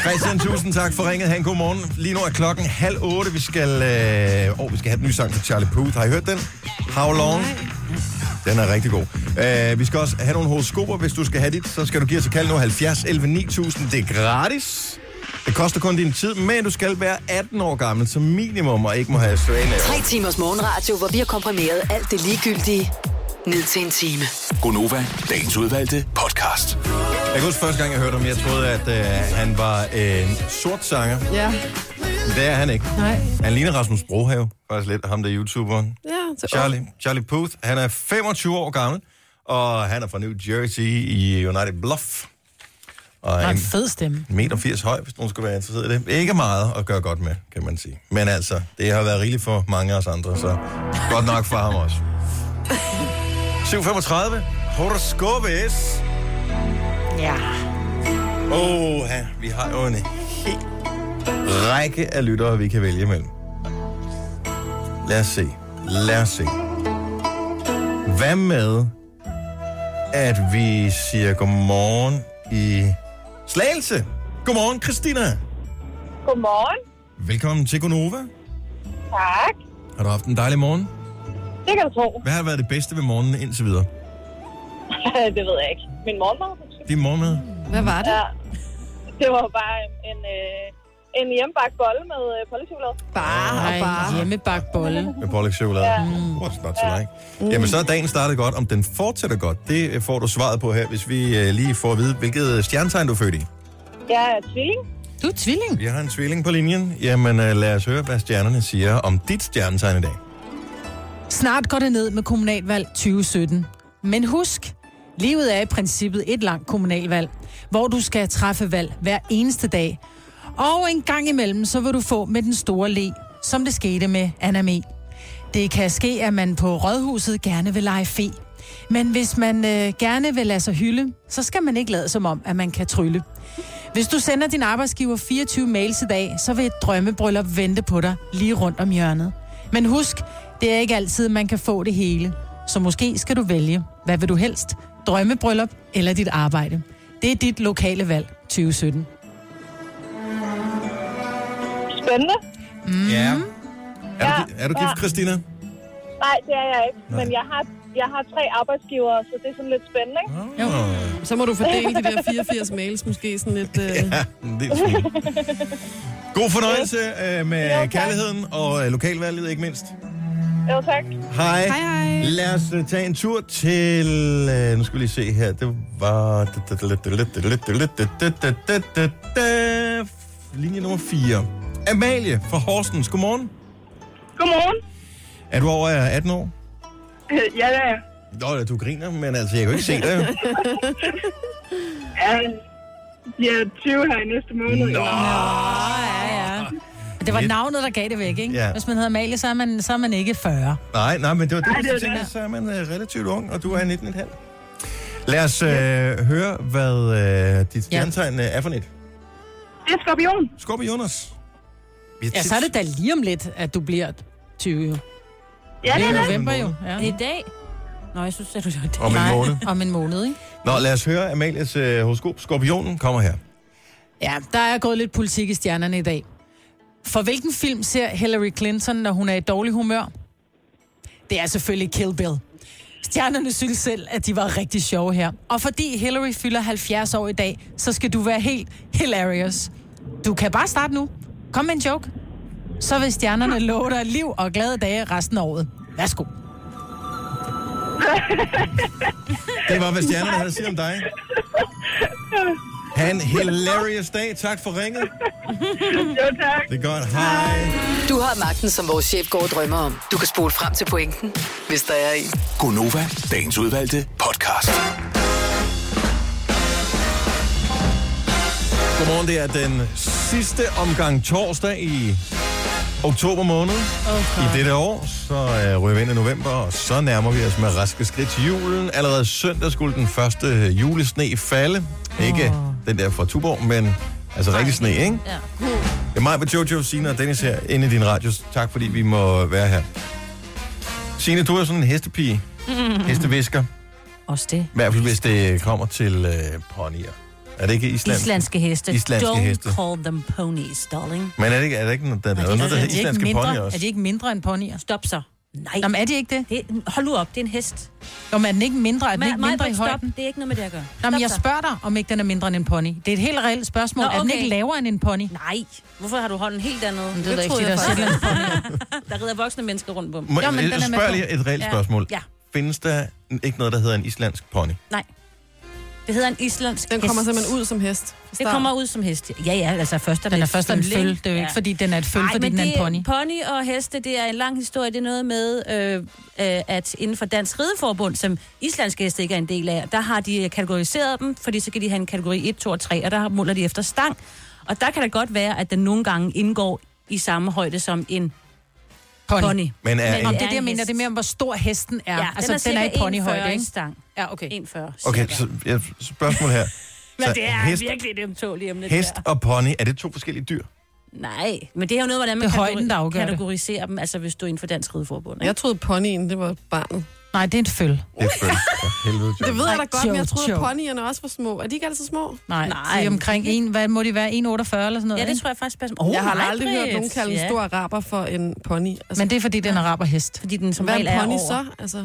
Christian, tusind tak for ringet. Han, god morgen. Lige nu er klokken halv otte. Vi skal, øh, åh, vi skal have den nye sang fra Charlie Puth. Har I hørt den? How long? Den er rigtig god. Uh, vi skal også have nogle horoskoper. Hvis du skal have dit, så skal du give os et kald nu 70 11 9000. Det er gratis. Det koster kun din tid, men du skal være 18 år gammel som minimum, og ikke må have svane. Tre timers morgenradio, hvor vi har komprimeret alt det ligegyldige ned til en time. Gonova, dagens udvalgte podcast. Jeg kan huske første gang, jeg hørte om, jeg troede, at øh, han var øh, en sort sanger. Ja, Men det er han ikke. Nej. Han ligner Rasmus Brohave, faktisk lidt, ham der YouTuberen. ja. Til Charlie, Charlie Puth, han er 25 år gammel, og han er fra New Jersey i United Bluff. Og Har er en fed stemme. 1,80 meter 80 høj, hvis nogen skulle være interesseret i det. Ikke meget at gøre godt med, kan man sige. Men altså, det har været rigeligt for mange af os andre, så godt nok for ham også. 7.35. Horoskopes. Ja. Åh, ja, vi har jo en hel række af lyttere, vi kan vælge imellem. Lad os se. Lad os se. Hvad med, at vi siger godmorgen i Slagelse. Godmorgen, Christina. Godmorgen. Velkommen til Gonova. Tak. Har du haft en dejlig morgen? Det kan du tro. Hvad har været det bedste ved morgenen indtil videre? det ved jeg ikke. Min mormor, måske. Din morgenmad? Hvad var det? Ja. Det var bare en, en, øh, en hjemmebagt bolle med øh, pålægtschokolade. Bare og bare. Ej, hjemmebagt bolle. Med pålægschokolade? Ja. What's not to like? Jamen, så er dagen startet godt. Om den fortsætter godt, det øh, får du svaret på her, hvis vi øh, lige får at vide, hvilket stjernetegn du er født i. Jeg er tvilling. Du er tvilling. Vi har en tvilling på linjen. Jamen, øh, lad os høre, hvad stjernerne siger om dit stjernetegn i dag. Snart går det ned med kommunalvalg 2017. Men husk, livet er i princippet et langt kommunalvalg, hvor du skal træffe valg hver eneste dag. Og en gang imellem, så vil du få med den store le, som det skete med Anna Me. Det kan ske, at man på rådhuset gerne vil lege fe. Men hvis man øh, gerne vil lade sig hylde, så skal man ikke lade som om, at man kan trylle. Hvis du sender din arbejdsgiver 24 mails i dag, så vil et drømmebryllup vente på dig lige rundt om hjørnet. Men husk, det er ikke altid, man kan få det hele. Så måske skal du vælge, hvad vil du helst? Drømmebryllup eller dit arbejde? Det er dit lokale valg 2017. Spændende. Mm. Ja. Er du, Ja, er du gift, ja. Christina? Nej, det er jeg ikke. Men jeg har, jeg har tre arbejdsgivere, så det er sådan lidt spændende. Ikke? Jo. Så må du fordele de der 84 mails måske sådan lidt... Øh... Ja, en lille smule. God fornøjelse øh, med Jo, tak. kærligheden og øh, lokalvalget, ikke mindst. Jo, tak. Hej. Hej, hej. Lad os øh, tage en tur til... Øh, nu skal vi lige se her. Det var... Linje nummer 4. Amalie fra Horsens. Godmorgen. Godmorgen. Er du over øh, 18 år? Øh, Ja, det er jeg. Nå, ja, du griner, men altså, jeg kan jo ikke se dig. jo. Ja, jeg er 20 her i næste måned. Nå. ja, ja. Men Det var Ah. Lidt. navnet, der gav det væk, ikke? Ja. Hvis man hedder Amalie, så er man, så er man ikke 40. Nej, nej, men det var det, Nej, det jeg var tænkte, det. så er man øh, relativt ung, og du er 19,5. Lad os øh, høre, hvad øh, dit stjernetegn øh, er for net. Det er skorpion. Skub Jonas. Vi har Ja, tit- så er det da lige om lidt, at du bliver 20. Det Ja, det er er det. november jo. Er det Ja. i dag? Nå, jeg synes, at du det. Om en Nej, måned. Om en måned, ikke? Nå, lad os høre Amalias øh, horoskop. Skorpionen kommer her. Ja, der er gået lidt politik i stjernerne i dag. For hvilken film ser Hillary Clinton, når hun er i dårlig humør? Det er selvfølgelig Kill Bill. Stjernerne synes selv, at de var rigtig sjove her. Og fordi Hillary fylder 70 år i dag, så skal du være helt hilarious. Du kan bare starte nu. Kom med en joke. Så vil stjernerne love dig liv og glade dage resten af året. Værsgo. Det var, hvad stjernerne havde at sige om dig. Han hilarious dag. Tak for ringet. Jo, tak. Det er godt. Hej. Du har magten, som vores chef går og drømmer om. Du kan spole frem til pointen, hvis der er en. Gonova, dagens udvalgte podcast. Godmorgen, det er den sidste omgang torsdag i oktober måned okay. i dette år. Så øh, ryger vi ind i november, og så nærmer vi os med raske skridt til julen. Allerede søndag skulle den første øh, julesne falde. Ikke den der fra Tuborg, men altså rigtig sne, ikke? Ja. Det er mig, Jojo, Signe og Dennis her inde i din radio. Tak fordi vi må være her. Signe, du er sådan en hestepige. Mhm. Hestevisker. Også det. I hvert fald, hvis det kommer til øh, ponyer. Er det ikke Island? Islandske heste. Islandske Don't heste. call them ponies, darling. Men er det ikke, er det ikke noget, der er Er noget, de, der er hedder de, ikke islandske mindre, pony er også? de ikke mindre end ponyer? Stop så. Nej. Jamen, er de ikke det? det, hold nu op, det er en hest. Jamen, er den ikke mindre? Er den Ma- ikke mindre i Majbrit, stop. højden? Det er ikke noget med det at gøre. Nå, men Stop jeg så. spørger dig, om ikke den er mindre end en pony. Det er et helt reelt spørgsmål. Nå, okay. Nå, Er den okay. ikke lavere end en pony? Nej, Nej. Hvorfor har du hånden helt andet? det er da ikke troede det, der jeg er faktisk. Shetland. Der rider voksne mennesker rundt på dem. Må, Jo, men den jeg er med spørger på. lige et reelt Ja. spørgsmål. Ja. Findes der n- ikke noget, der hedder en islandsk pony? Nej. Det hedder en islandsk Den kommer hest. simpelthen ud som hest. fra Det start. kommer ud som hest. Ja, ja, altså først er Den det er først en føl. Det er jo ikke, fordi den er et føl, Nej, fordi men den er en pony. det- Pony og heste, det er en lang historie. Det er noget med, øh, øh, at inden for Dansk Rideforbund, som islandske heste ikke er en del af, der har de kategoriseret dem, fordi så kan de have en kategori 1, 2 og 3, og der måler de efter stang. Og der kan det godt være, at den nogle gange indgår i samme højde som en Pony. pony. Men er Men- Om en, det, er det, jeg en mener, hest. det er mere om, hvor stor hesten er. Ja, altså, den, cirka er i ponyhøjde, 1,40 i ikke? stang. Ja, okay. 1,40. okay, cirka. så ja, spørgsmål her. Men Så det er hest, virkelig et ømtåligt emne, det hest der. og pony, er det to forskellige dyr? Nej, men det er jo noget, hvordan man Det er højden, der kategori- afgør det. kategoriserer dem, altså hvis du er inden for Dansk Rideforbund. Ikke? Jeg troede, ponyen, det var barnet. Nej, det er et føl. Det er følt. For helvede, Det ved jeg da Nej, godt, men jeg joke, troede, at joke. ponyerne også var små. Er de ikke altid små? Nej, Nej. Nej. De er omkring en, hvad må de være, 1,48 eller sådan noget? Ja, det ikke? tror jeg faktisk passer. Oh, jeg har nej, aldrig hørt Britt. nogen kalde en Ja. stor araber for en pony. Altså, Men det er, fordi den er araberhest. Fordi den som hvad regel er er en pony over. så? Altså,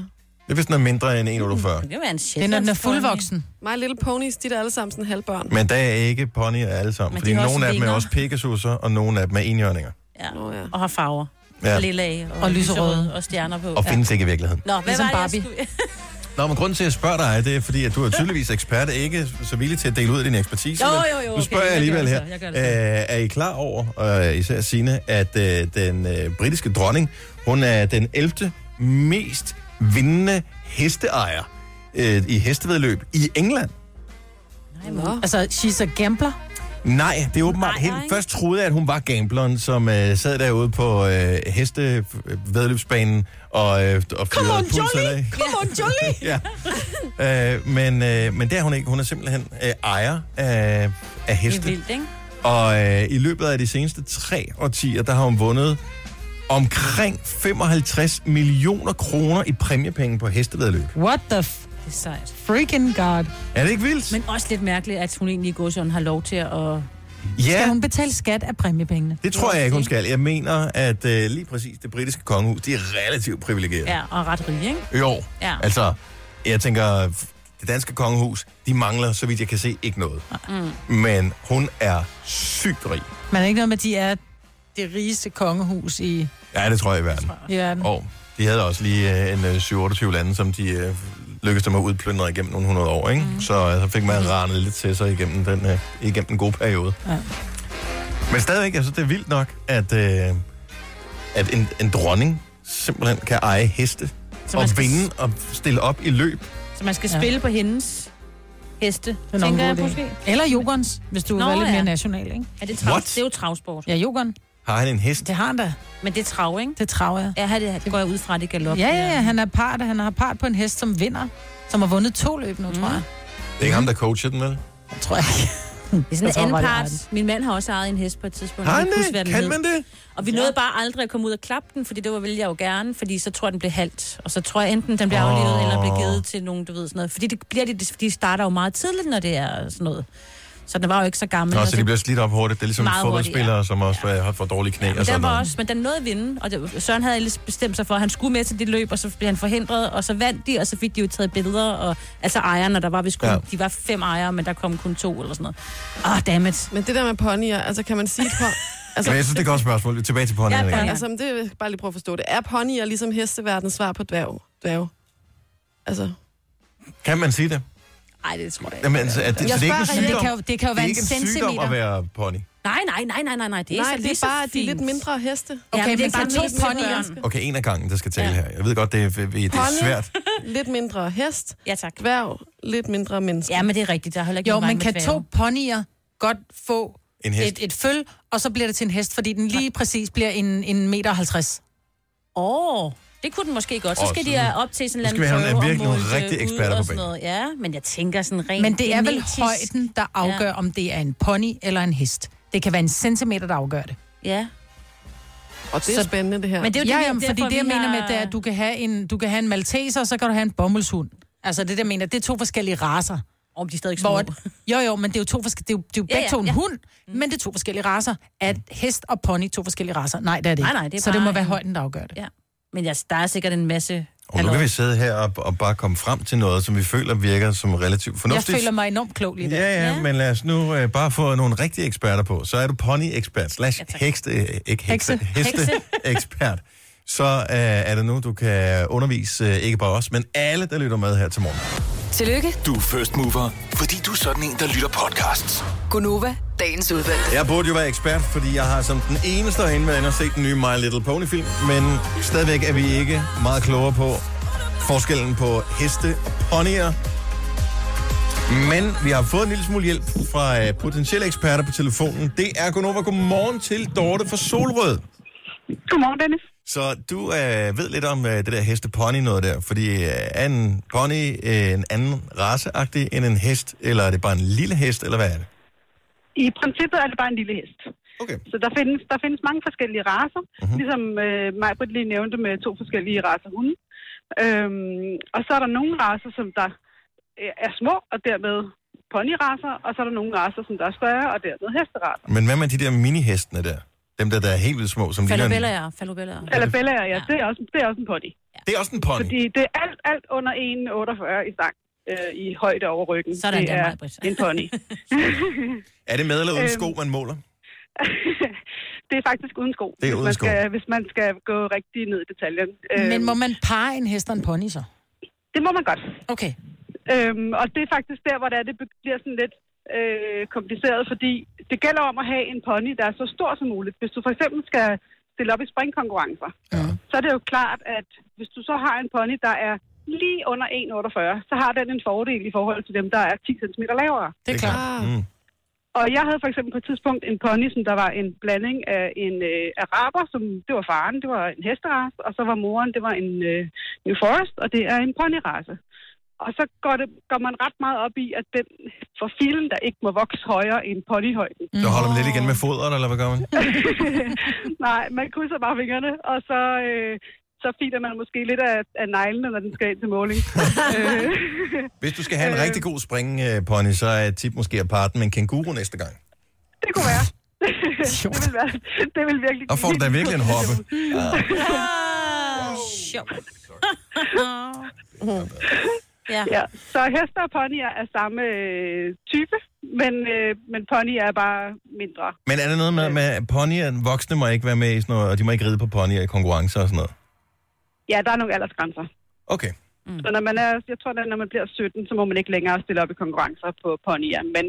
Det er vist noget mindre end 1,48. Det kan være en Det er, Shetland. når den er fuldvoksen. My Little Ponies, de er da alle sammen sådan halvbørn. Men der er ikke ponyer alle sammen, Men fordi de har nogle også af dem er vinger. også pegasusser, og nogle af dem er enhjørninger. Ja. Nå, ja. Og har farver. Ja. Ja. Lilla af, og, Og lyserøde. lyserøde, og stjerner på. Og findes ikke i virkeligheden. Nå, hvad Ligesom var det, jeg Barbie. skulle- Nå, men grunden til, at jeg spørger dig, det er fordi, at du er tydeligvis ekspert, ikke så villig til at dele ud af din ekspertise. Jo, men jo, jo, Nu okay, spørger jeg jeg gør alligevel det her. så, jeg gør det altså. Øh, er I klar over, og især Signe, at øh, den øh, britiske dronning, hun er den 11. mest vindende hesteejer øh, i hestevedløb i England? Nå. Altså, she's a gambler. Nej, det er åbenbart Nej, helt... nej. Først troede jeg, at hun var gambleren, som øh, sad derude på øh, hestevedløbsbanen og, øh, og Come fyrede on, pulserne Jolly! af. Come on, Jolly! ja. øh, men, øh, men det er hun ikke. Hun er simpelthen øh, ejer af, af Det er heste. vildt, ikke? Og øh, i løbet af de seneste tre årtier, der har hun vundet omkring 55 millioner kroner i præmiepenge på hestevedløb. What the f- Det er sejt. freaking god? Er det ikke vildt? Men også lidt mærkeligt, at hun egentlig i godsøjen har lov til at... Skal ja, hun betale skat af præmiepengene? det tror jeg ikke, hun skal. Jeg mener, at øh, lige præcis det britiske kongehus, de er relativt privilegerede. Ja, og er ret rig, ikke? Jo, Ja. altså, jeg tænker, det danske kongehus, de mangler, så vidt jeg kan se, ikke noget. Mm. Men hun er sygt rig. Men er det ikke noget med, at de er det rigeste kongehus i, Ja, det tror jeg i verden. i verden? Og de havde også lige øh, en øh, 7-28 lande, som de øh, lykkedes dem at udplyndre igennem nogle hundrede år, ikke? Mm. Så øh, så fik man ranet lidt til sig igennem den, øh, igennem den gode periode. Ja. Ja. Men stadigvæk, altså, det er vildt nok, at, øh, at en, en dronning simpelthen kan eje heste Så og man skal, vinde og stille op i løb. så man skal Ja. spille på hendes heste, er nok en tænker jeg god idé. måske. Eller Jokons, hvis du Nå, Nå, er lidt ja. mere national, ikke? Er det, What? trav? det er jo travsport. Ja, Jokon. Har han en hest? Det har han da. Men det er trav, ikke? Det traver jeg. Ja, det, det går jeg ud fra, det galop. Ja, ja, ja. Han er part, han har part på en hest, som vinder. Som har vundet to løb nu, mm. tror jeg. Det er ikke ham, der coacher den, vel? Jeg tror jeg ikke. Det er sådan Jeg en tror anden bare, det er part. Min mand har også ejet en hest på et tidspunkt. Har Jeg han kan ikke huske, hvad det? den Kan hed. man det? Og vi nåede bare aldrig at komme ud og klappe den, fordi det var ville jeg jo gerne, fordi så tror jeg, den blev halvt. Og så tror jeg enten, den bliver Åh. aflevet, eller bliver givet til nogen, du ved sådan noget. Fordi det bliver de, de starter jo meget tidligt, når det er sådan noget. Så den var jo ikke så gammel. Altså, Nå, og så de bliver slidt op hurtigt. Det er ligesom Meget fodboldspillere, som også ja. har for dårlige knæ og men sådan den var noget. også, men den nåede at vinde, og det, Søren havde ellers bestemt sig for, at han skulle med til det løb, og så blev han forhindret, og så vandt de, og så fik de jo taget billeder, og altså ejerne, der var vist kun, Ja. ja. de var fem ejere, men der kom kun to eller sådan noget. Åh, oh, dammit. Men det der med ponyer, altså kan man sige... at Pon- altså, Men jeg synes, det er et godt spørgsmål. Vi er Tilbage til ponyen. Ja, Ja, ponyen. altså, men det vil jeg bare lige prøve at forstå det. Er ponyer ligesom hesteverdens svar på dværg? dværg? Altså, kan man sige det? Nej, det tror jeg ikke. Jamen, altså, at det, så det er ikke en spørger sygdom. reelt. Det kan jo, det kan jo det er være en ikke en sygdom at centimeter. være pony. Nej, nej, nej, nej, nej, nej, det er nej, så det lige er bare, så at de er lidt fint. mindre heste. Okay, men men det er så bare to mest mindre ponyer. børn. Okay, en af gangen, der skal tale Ja. her. Jeg ved godt, det er, det er Pony. svært. Lidt mindre hest, Ja, tak. dværg, lidt mindre menneske. Ja, men det er rigtigt. Der holder ikke Jo, nogen vej men med kan dværge. to ponyer godt få En hest. et, et føl, og så bliver det til en hest, fordi den lige præcis bliver en, en meter og 50. Åh, oh, det kunne den måske godt. Så Åh, skal de sådan- øh, op til sådan en Nu skal eller vi have anden nogle- prøve virkelig og nogle måle det rigtige ud eksperter på og sådan banen. noget. Ja, men jeg tænker sådan rent Men det er vel genetisk. højden, der afgør, om det er en pony eller en hest. Det kan være en centimeter, der afgør det. Ja. Og det er Så- spændende, det her. Men det er jo Ja, det, jamen, vi- fordi derfor, det, jeg vi mener har- med, det er, at du kan have en, du kan have en malteser, og så kan du have en bomuldshund. Altså det, der mener, det er to forskellige racer. Om de er stadig små. Hvor, jo, jo, men det er jo, to forske, det er jo, det er jo Ja, begge ja, to en ja. Mm. hund, men det er to forskellige racer. Er hest og pony to forskellige racer? Nej, det er det ikke. Nej, nej, det er så det må bare være en- højden, der afgør det. Ja. Men jeg, der er sikkert en masse... Og nu kan vi sidde her og, og bare komme frem til noget, som vi føler virker som relativt Jeg fornuftigt. føler mig enormt klog lige i dag. Ja, ja, Ja. men lad os nu øh, bare få nogle rigtige eksperter på. Så er du pony-ekspert, slash Ja, tak. hekste, øh, ikke hekse, Hekse. heste-ekspert. Så øh, er det nu, du kan undervise øh, ikke bare os, men alle, der lytter med her til morgen. Tillykke, Du er first mover, fordi du er sådan en, der lytter podcasts. Gunova, dagens udvalgte. Jeg burde jo være ekspert, fordi jeg har som den eneste herinde med og set den nye My Little Pony-film, men stadigvæk er vi ikke meget klogere på forskellen på heste og ponyer. Men vi har fået en lille smule hjælp fra øh, potentielle eksperter på telefonen. Det er Gunova. Godmorgen til Dorte fra Solrød. Godmorgen, Dennis. Så du øh, ved lidt om øh, det der heste-pony noget der, fordi øh, er en pony øh, en anden raceagtig end en hest, eller er det bare en lille hest, eller hvad er det? I princippet er det bare en lille hest. Okay. Mhm. Så der findes, der findes mange forskellige raser, mm-hmm. ligesom øh, Majbrit lige nævnte med to forskellige raser hunde. Øhm, og så er der nogle raser, som der øh, er små, og dermed ponyraser, og så er der nogle raser, som der er større, og dermed hesteraser. Men hvad med de der minihestene der? Dem der, der er helt vildt små, som ligner... en- Falobellaer, falobellaer. Eller bellager, ja, det er også, det er også en pony. Det er også en pony. Fordi det er alt, alt under 1,48 i stang øh, i højde over ryggen. Sådan det der, er Maj-Brit. en pony. Er det med eller uden Øhm. sko, man måler? det er faktisk uden sko, Det er hvis, uden man sko. Skal, hvis man skal gå rigtig ned i detaljen. Øhm. Men må man parre en hest og en pony så? Det må man godt. Okay. Øhm, og det er faktisk der, hvor det, er, det be- bliver sådan lidt øh, kompliceret, fordi det gælder om at have en pony, der er så stor som muligt. Hvis du for eksempel skal stille op i springkonkurrencer, ja. så er det jo klart, at hvis du så har en pony, der er lige under 1,48, så har den en fordel i forhold til dem, der er 10 cm lavere. Det er klart. Mm. Og jeg havde for eksempel på et tidspunkt en pony, som der var en blanding af en øh, araber, som det var faren, det var en hesterace, og så var moren, det var en øh, New Forest, og det er en ponyrace. Og så går, det, går man ret meget op i, at den for filen, der ikke må vokse højere end ponyhøjden. Så holder man lidt igen med fodret, eller hvad gør man? Nej, man krydser bare fingrene, og så, øh, så filer man måske lidt af, af neglene, når den skal ind til måling. øh, Hvis du skal have en Øhm. rigtig god springpony, så er et tip måske at parre den med en kænguru næste gang. det kunne være. det, vil være det vil virkelig Og får du da virkelig en hoppe. Ah, sjovt. ja. Ja, så heste og ponyer er samme øh, type, men, øh, men ponyer er bare mindre. Men er det noget med, med at ponyer, voksne må ikke være med i sådan noget, og de må ikke ride på ponyer i konkurrencer og sådan noget? Ja, der er nogle aldersgrænser. Okay. Så når man er, jeg tror, at når man bliver 17, så må man ikke længere stille op i konkurrencer på ponyer, men,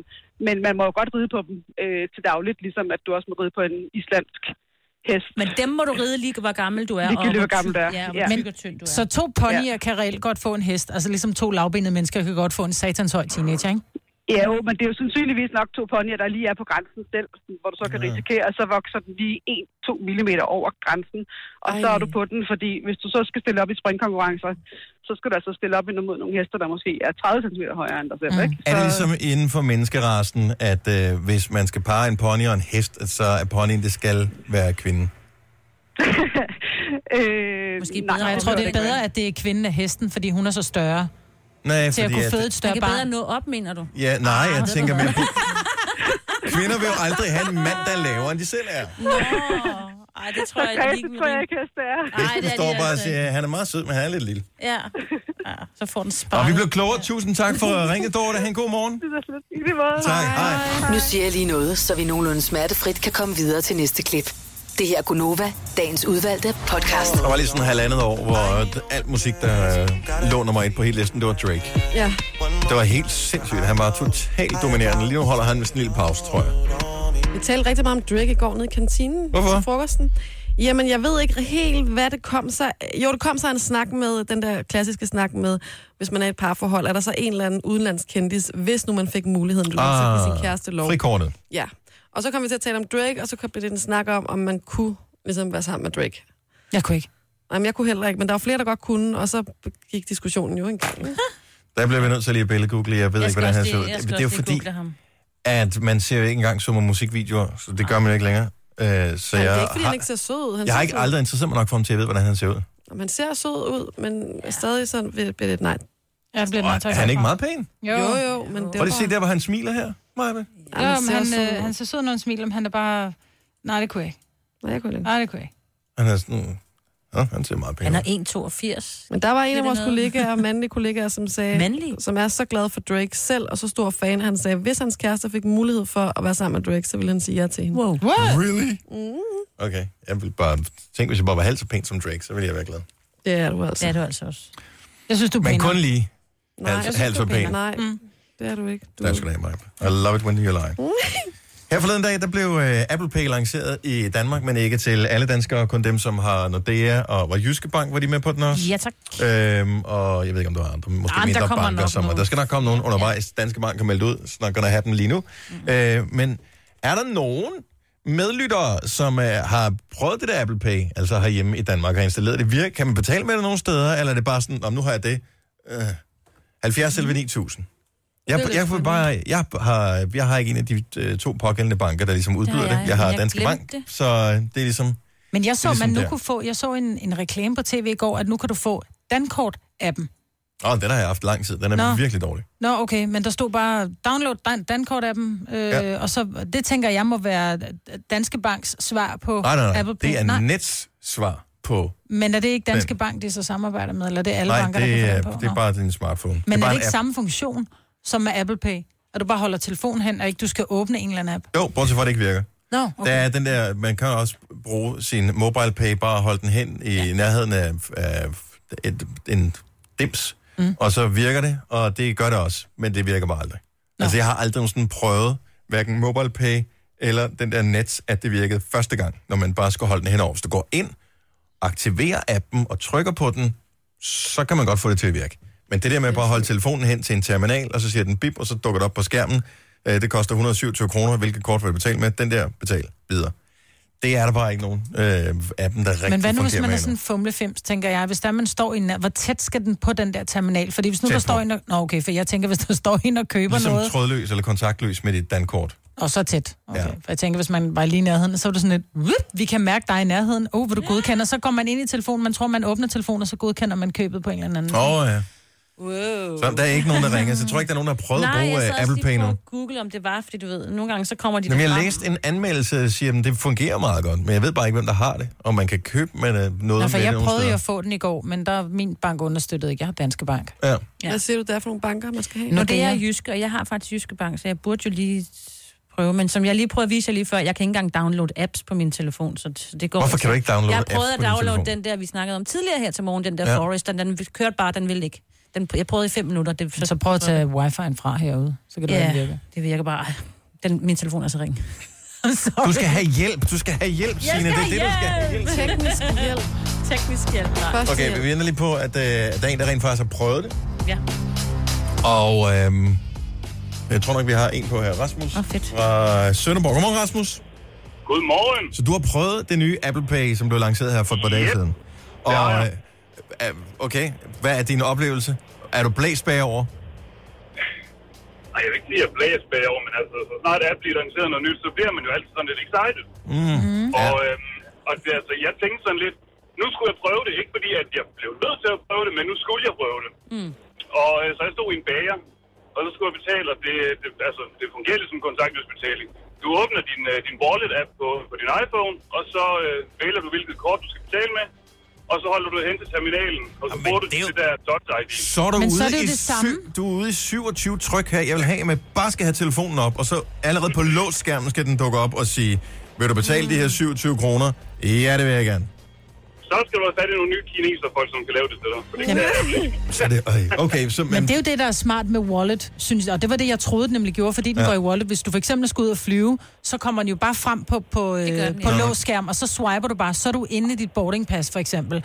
men man må jo godt ride på dem øh, til dagligt, ligesom at du også må ride på en islandsk hest. Men dem må du ride lige, hvor gammel du er. Ligegyldigt, og hvor gammel du er. Ja, og Ja. hvor tyk og tynd du er. Så to ponyer kan reelt godt få en hest. Altså ligesom to lavbenede mennesker kan godt få en satans høj teenager, ikke? Ja, jo, men det er jo sandsynligvis nok to ponyer, der lige er på grænsen selv, hvor du så kan risikere, at så vokser den lige 1-2 mm over grænsen, og Ej. så Ej. er du på den, fordi hvis du så skal stille op i springkonkurrencer, så skal du altså stille op imod nogle hester, der måske er 30 cm højere end dig selv, mm. ikke? Er det ligesom inden for menneskerassen, at øh, hvis man skal parre en pony og en hest, at så er ponyen, det skal være kvinde? øh, Måske bedre, Og jeg tror, det er ikke. bedre, at det er kvinden af hesten, fordi hun er så større Nej, til at fordi kunne at- føde et Man større kan bedre barn. nå op, mener du? Ja, nej, jeg ved tænker, du men... Kvinder vil jo aldrig have en mand, der er lavere, end de selv er. Nå, ej, det tror jeg, Ja, det det ikke tror jeg ikke, heste er. Nej, det Jeg er står de bare og altså. ikke. siger, han er meget sød, men han er lidt lille. Ja. ja. Så får den Og sparet. vi blev klogere. Tusind tak for at ringe, Dorte. Ha' en god morgen. Det er slet ikke det måde. Tak. Hej. Nu siger jeg lige noget, så vi nogenlunde smertefrit kan komme videre til næste klip. Det her er Gunova, dagens udvalgte podcast. Der var lige sådan halvandet år, hvor øh, alt musik, der øh, lå nummer et på hele listen, det var Drake. Ja. Det var helt sindssygt. Han var totalt dominerende. Lige nu holder han med sådan en lille pause, tror jeg. Vi talte rigtig meget om Drake i går nede i kantinen Hvorfor? til frokosten. Jamen, jeg ved ikke helt, hvad det kom sig. Jo, det kom sig af en snak med, den der klassiske snak med, hvis man er i et parforhold, er der så en eller anden udenlandskendis, hvis nu man fik muligheden, du ah, sin kæreste lov. frikortet. Ja. Og så kom vi til at tale om Drake, og så kom det en snak om, om man kunne ligesom være sammen med Drake. Jeg kunne ikke. Jamen, jeg kunne heller ikke, men der var flere, der godt kunne, og så gik diskussionen jo engang. ikke? Der bliver vi nødt til lige at billedgoogle. Jeg ved Jeg ikke, skal hvordan også han lige- ser ud. jeg Det skal er jo også lige fordi, google ham. at man ser jo ikke engang summer musikvideoer, så det gør man jo ikke længere. Øh, så Ej, jeg, det er ikke, fordi han har, ikke ser sød ud. Han jeg har ser ikke sød. aldrig interesseret mig nok for ham til at vide, hvordan han ser ud. Jamen, Han ser sød ud, men ja. stadig sådan bliver bliver det et nej. Ja, det bliver et nej tak Og er han ikke herfra. meget pæn? Jo, Jo, jo. jo, men det Prøv var lige at se der, hvor han smiler her. Maja. jo Jamen, men ser han, sød ud. øh, han ser sød, når han smiler, men han er bare... Nej, det kunne jeg ikke. Nej, jeg kunne ikke. Nej, det kunne jeg ikke. Han er sådan... Ja, han ser meget pæn Han ud. er 1,82. Men der var en Ved af det vores noget? kollegaer, mandlige kollegaer, som sagde, Mandlige? som er så glad for Drake selv, og så stor fan, han sagde, hvis hans kæreste fik mulighed for at være sammen med Drake, så ville han sige ja til hende. Wow. Really? Okay, jeg vil bare... Tænk, hvis jeg bare var halvt så pæn som Drake, så ville jeg være glad. Det er du altså. Det er du altså også. Jeg synes, du er Men pænere. kun lige Nej, jeg halvt synes, halvt du så er pæn. Nej, Mm. det er du ikke. Du, Tak skal du have, Maja. I love it when you're lying. Her forleden dag, der blev øh, Apple Pay lanceret i Danmark, men ikke til alle danskere, kun dem, som har Nordea og var Jyske Bank, var de med på den også? Ja, tak. Øhm, og jeg ved ikke, om der var andre, måske Ah, men der mindre kommer banker, nok som nogen. der skal nok komme nogen undervejs. Danske Bank har meldt ud, så nok gonna happen lige nu. Mm-hmm. Mm. Øh, men er der nogen medlyttere, som øh, har prøvet det der Apple Pay, altså herhjemme i Danmark, har installeret det virker? Kan man betale med det nogle steder, eller er det bare sådan, om nu har jeg det? Øh, 70 eller 9000. Jeg, Mm-hmm. Det er jeg, lidt jeg, bare, jeg, har, jeg har ikke en af de øh, to pågældende banker, der ligesom udbyder har det. jeg, Jeg, men har jeg Danske glemte Bank, det. så øh, det er ligesom... Men jeg så, Det er man ligesom nu der. kunne få, jeg så en, en reklame på tv i går, at nu kan du få Dankort-appen. Åh, oh, den har jeg haft lang tid. Den er Nå. Nå. virkelig dårlig. Nå, okay, men der stod bare, download Dan- Dankort-appen, øh, Ja. ja. og så, det tænker jeg må være Danske Banks svar på Nej, nej, nej. Apple Pay. det er nej, Nets svar på... men er det ikke Danske Bank, de så samarbejder med, eller er det alle nej, banker, der det kan få er, den på? det er Nå. bare din smartphone. Men det er, er bare det ikke en app. samme funktion som med Apple Pay? At du bare holder telefonen hen, og ikke du skal åbne en eller anden app? Jo, bortset fra, at det ikke virker. Nå, Okay. Der okay. er den der, man kan også bruge sin mobile pay, bare holde den hen i ja. nærheden af, af et, en dims, mm. og så virker det, og det gør det også, men det virker bare aldrig. Nå. Altså, jeg har aldrig sådan prøvet, hverken mobile pay eller den der net, at det virkede første gang, når man bare skal holde den henover. Hvis du går ind, aktiverer appen og trykker på den, så kan man godt få det til at virke. Men det der med bare at holde telefonen hen til en terminal, og så siger den bip, og så dukker det op på skærmen, øh, det koster 127 kroner, hvilket kort vil du betale med, den der betal videre. Det er der bare ikke nogen øh, appen, der rigtig Men hvad nu, hvis fungerer man med er sådan en endnu. fumlefims, tænker jeg? Hvis der man står i en, hvor tæt skal den på den der terminal? Fordi hvis nu Tæt der på. står en og, Nå, okay, for jeg tænker, hvis der står en og køber Ligesom noget, Mm. trådløs eller kontaktløs med dit dankort. og så tæt. Okay. Ja. Ja. For jeg tænker, hvis man var lige i nærheden, så var det sådan et, "Wup, vi kan mærke dig i nærheden. Åh, oh, vil du godkende? Og så går man ind i telefonen, man tror, man åbner telefonen, og så godkender man købet på en eller anden. Åh oh, ja. Wow. Så der er ikke nogen, der ringer, så jeg tror ikke, der er nogen, der har prøvet Nej, at bruge jeg sad øh, også Apple lige Pay nu. på Google, om det var, fordi du ved, nogle gange så kommer de Jamen, jeg frem. læste en anmeldelse, der siger, at det fungerer meget godt, men jeg ved bare ikke, hvem der har det, og man kan købe med øh, noget Nå, med for det jeg nogle prøvede jo steder. at få den i går, men der min bank understøttede ikke. Jeg har Danske Bank. Ja. Ja. Hvad siger du, der er for nogle banker, man skal have? Nå, Nå, det er det Jyske, og jeg har faktisk Jyske Bank, så jeg burde jo lige prøve. Men som jeg lige prøvede at vise jer lige før, jeg kan ikke engang downloade apps på min telefon, så t- det går altså Hvorfor kan du ikke downloade Jeg apps prøvede at på din downloade telefon? den der, vi snakkede om tidligere her til morgen, den der Ja. ja. Forest, den, den kørte bare, den ville ikke. Den, jeg prøvede i fem minutter. Det, Så prøv at tage wifi'en fra herude, så kan det yeah. Ja, virke. det virker bare. Den, min telefon er så ring. Du skal have hjælp, du skal have hjælp, Signe. Det er det, du skal have hjælp. Teknisk hjælp. Teknisk hjælp. Først Okay, vi venter lige på, at øh, at der er en, der rent faktisk har prøvet det. Ja. Og øhm, jeg tror nok, vi har en på her. Rasmus Åh, fedt. fra Sønderborg. Godmorgen, Rasmus. Godmorgen. Så du har prøvet det nye Apple Pay, som blev lanceret her for et par dage Yep. siden. Og, Ja, ja. øh, øh, okay, hvad er din oplevelse? Er du blæst bagover? Ej, jeg vil ikke lige at blæse bagover, men altså, så snart der er blevet lanceret noget nyt, så bliver man jo altid sådan lidt excited. Mm. Og, øhm, og det, altså, jeg tænkte sådan lidt, nu skulle jeg prøve det. Ikke fordi, at jeg blev nødt til at prøve det, men nu skulle jeg prøve det. Mm. Og øh, så jeg stod i en bager, og så skulle jeg betale, og det, det, altså, det fungerer ligesom kontaktløs betaling. Du åbner din, øh, din wallet-app på, på din iPhone, og så øh, vælger du, hvilket kort du skal betale med, og så holder du det hen til terminalen, og så Jamen, får du det er det, jo- det der touch-ID. Så er du, Men ude, så er det jo i det samme. du er ude i 27 tryk her. Jeg vil have, at man bare skal have telefonen op, og så allerede på låsskærmen skal den dukke op og sige, vil du betale de her 27 kroner? Ja, det vil jeg gerne. Så skal du have fat i nogle nye kineser, folk, som kan lave det til dig. For det kan jeg ikke. Så er det, øj, okay, så, Men men, det er jo det, der er smart med wallet, synes jeg. Og det var det, jeg troede, den nemlig gjorde, fordi den ja. går i wallet. Hvis du for eksempel skal ud og flyve, så kommer den jo bare frem på, på, øh, gør den, på ja. låsskærm, og så swiper du bare, så er du inde i dit boardingpas, for eksempel.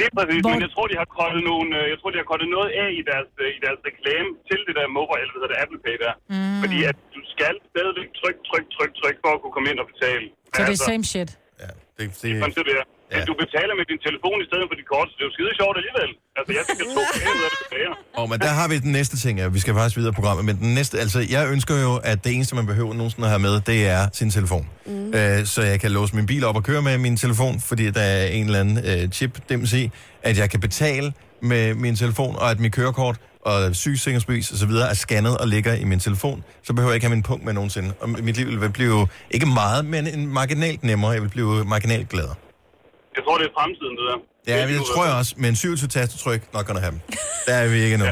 Lige præcis, Hvor- men jeg tror, de har kottet nogle, øh, jeg tror, de har kottet noget af i deres, øh, i deres reklame til det der mobile, eller hvad hedder det, Apple Pay der. Mm. Fordi at du skal stadigvæk trykke, trykke, trykke, trykke, for at kunne komme ind og betale. Så Altså- det er same shit. ja, det, det, Sådan set, ja. Men Ja. du betaler med din telefon i stedet for dit kort, så det er jo skide sjovt alligevel. Altså, jeg skal to penge ud af det tilbage. og, men der har vi den næste ting, ja. vi skal faktisk videre i programmet, men den næste, altså, jeg ønsker jo, at det eneste, man behøver nogensinde at have med, det er sin telefon. Mm. Øh, så jeg kan låse min bil op og køre med min telefon, fordi der er en eller anden øh, chip, dem i, at jeg kan betale med min telefon, og at mit kørekort og sygesikringsbevis og så videre er scannet og ligger i min telefon, så behøver jeg ikke have min punkt med nogensinde. Og mit liv vil blive ikke meget, men en marginalt nemmere. Jeg vil blive marginalt gladere. Jeg tror, det er fremtiden, det der. Ja, men det tror jeg også. Men 27 tastetryk, nok gonna have dem. Der er vi ikke nu.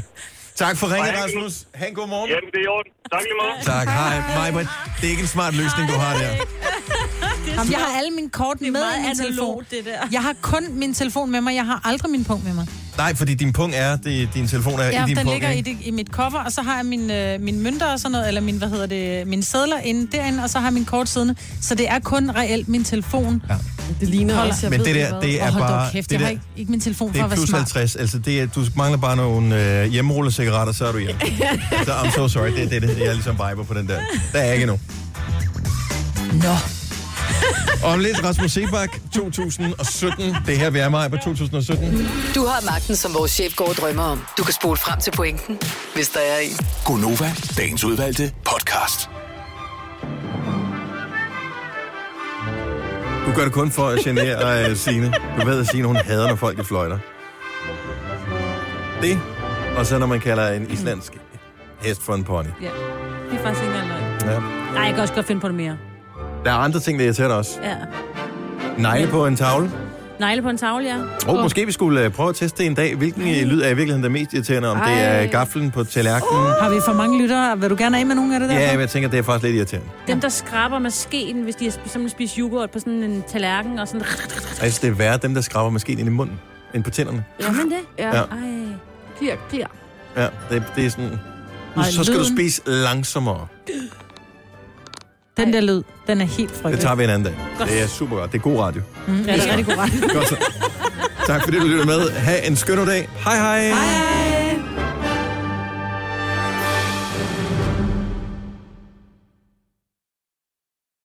Tak for ringen, Og han- Rasmus. Ha' en god morgen. Jamen, det er i orden. Tak lige meget. Tak, hej. Maj, Britt. det er ikke en smart løsning, du har der. Jamen, jeg har alle mine kort med meget i min analogt, telefon. det der. Jeg har kun min telefon med mig. Jeg har aldrig min punkt med mig. Nej, fordi din pung er, det, din telefon er Ja, i din den pung. ligger i, ikke? det, i mit cover, og så har jeg min, øh, min mønter og sådan noget, eller min, hvad hedder det, min sædler inde derinde, og så har jeg min kort siddende. Så det er kun reelt min telefon. Ja. Det ligner Hold- også, jeg Men ved det der, hvad. det Og er hold bare... dog kæft, det, jeg har der, ikke, ikke min telefon det for er at være plus smart. 50. Altså, det er, du mangler bare nogle øh, hjemmerullede cigaretter, så er du hjemme. så I'm so sorry, det er det, det. Jeg er ligesom viber på den der. Der er jeg ikke nu. Nå, Om lidt Rasmus Sebak, 2017. Det er her, vi er mig på 2017. Du har magten, som vores chef går og drømmer om. Du kan spole frem til pointen, hvis der er en. Gonova, dagens udvalgte podcast. Du øh, gør det kun for at genere uh, Signe. Du ved, at Signe, hun hader, når folk de fløjter. det, og så når man kalder en islandsk hest for en pony. Ja. Det er faktisk ikke engang løgn. Ja. Nej, jeg kan også godt finde på det mere. Der er andre ting, der irriterer dig også. Ja. Negle på en tavle. Negle på en tavle, ja. Og oh, måske vi skulle øh, prøve at teste en dag, hvilken øh, lyd er i virkeligheden der er mest irriterende, om det er Ej. gaflen på tallerkenen. Har vi for mange lyttere? Vil du gerne af med nogen af det der? Ja, men jeg tænker, det er faktisk lidt irriterende. Dem, der skraber med skeen, hvis de har sp- simpelthen spist yoghurt på sådan en tallerken og sådan... Altså, det er værre dem, der skraber maskinen ind i munden, end på tænderne. Ja, men det? Ja. Ja. Ej. Klir, klir. Ja, det, det er sådan... Nu, Ej, så skal du lyden. spise langsommere. Den der lyd, den er helt frygtelig. Det tager vi en anden dag. Det er super godt. Det er god radio. Mm, ja, det er rigtig god ret. Godt så. Tak fordi du lytter med. Ha' en skøn dag. Hej hej. hej. Hej.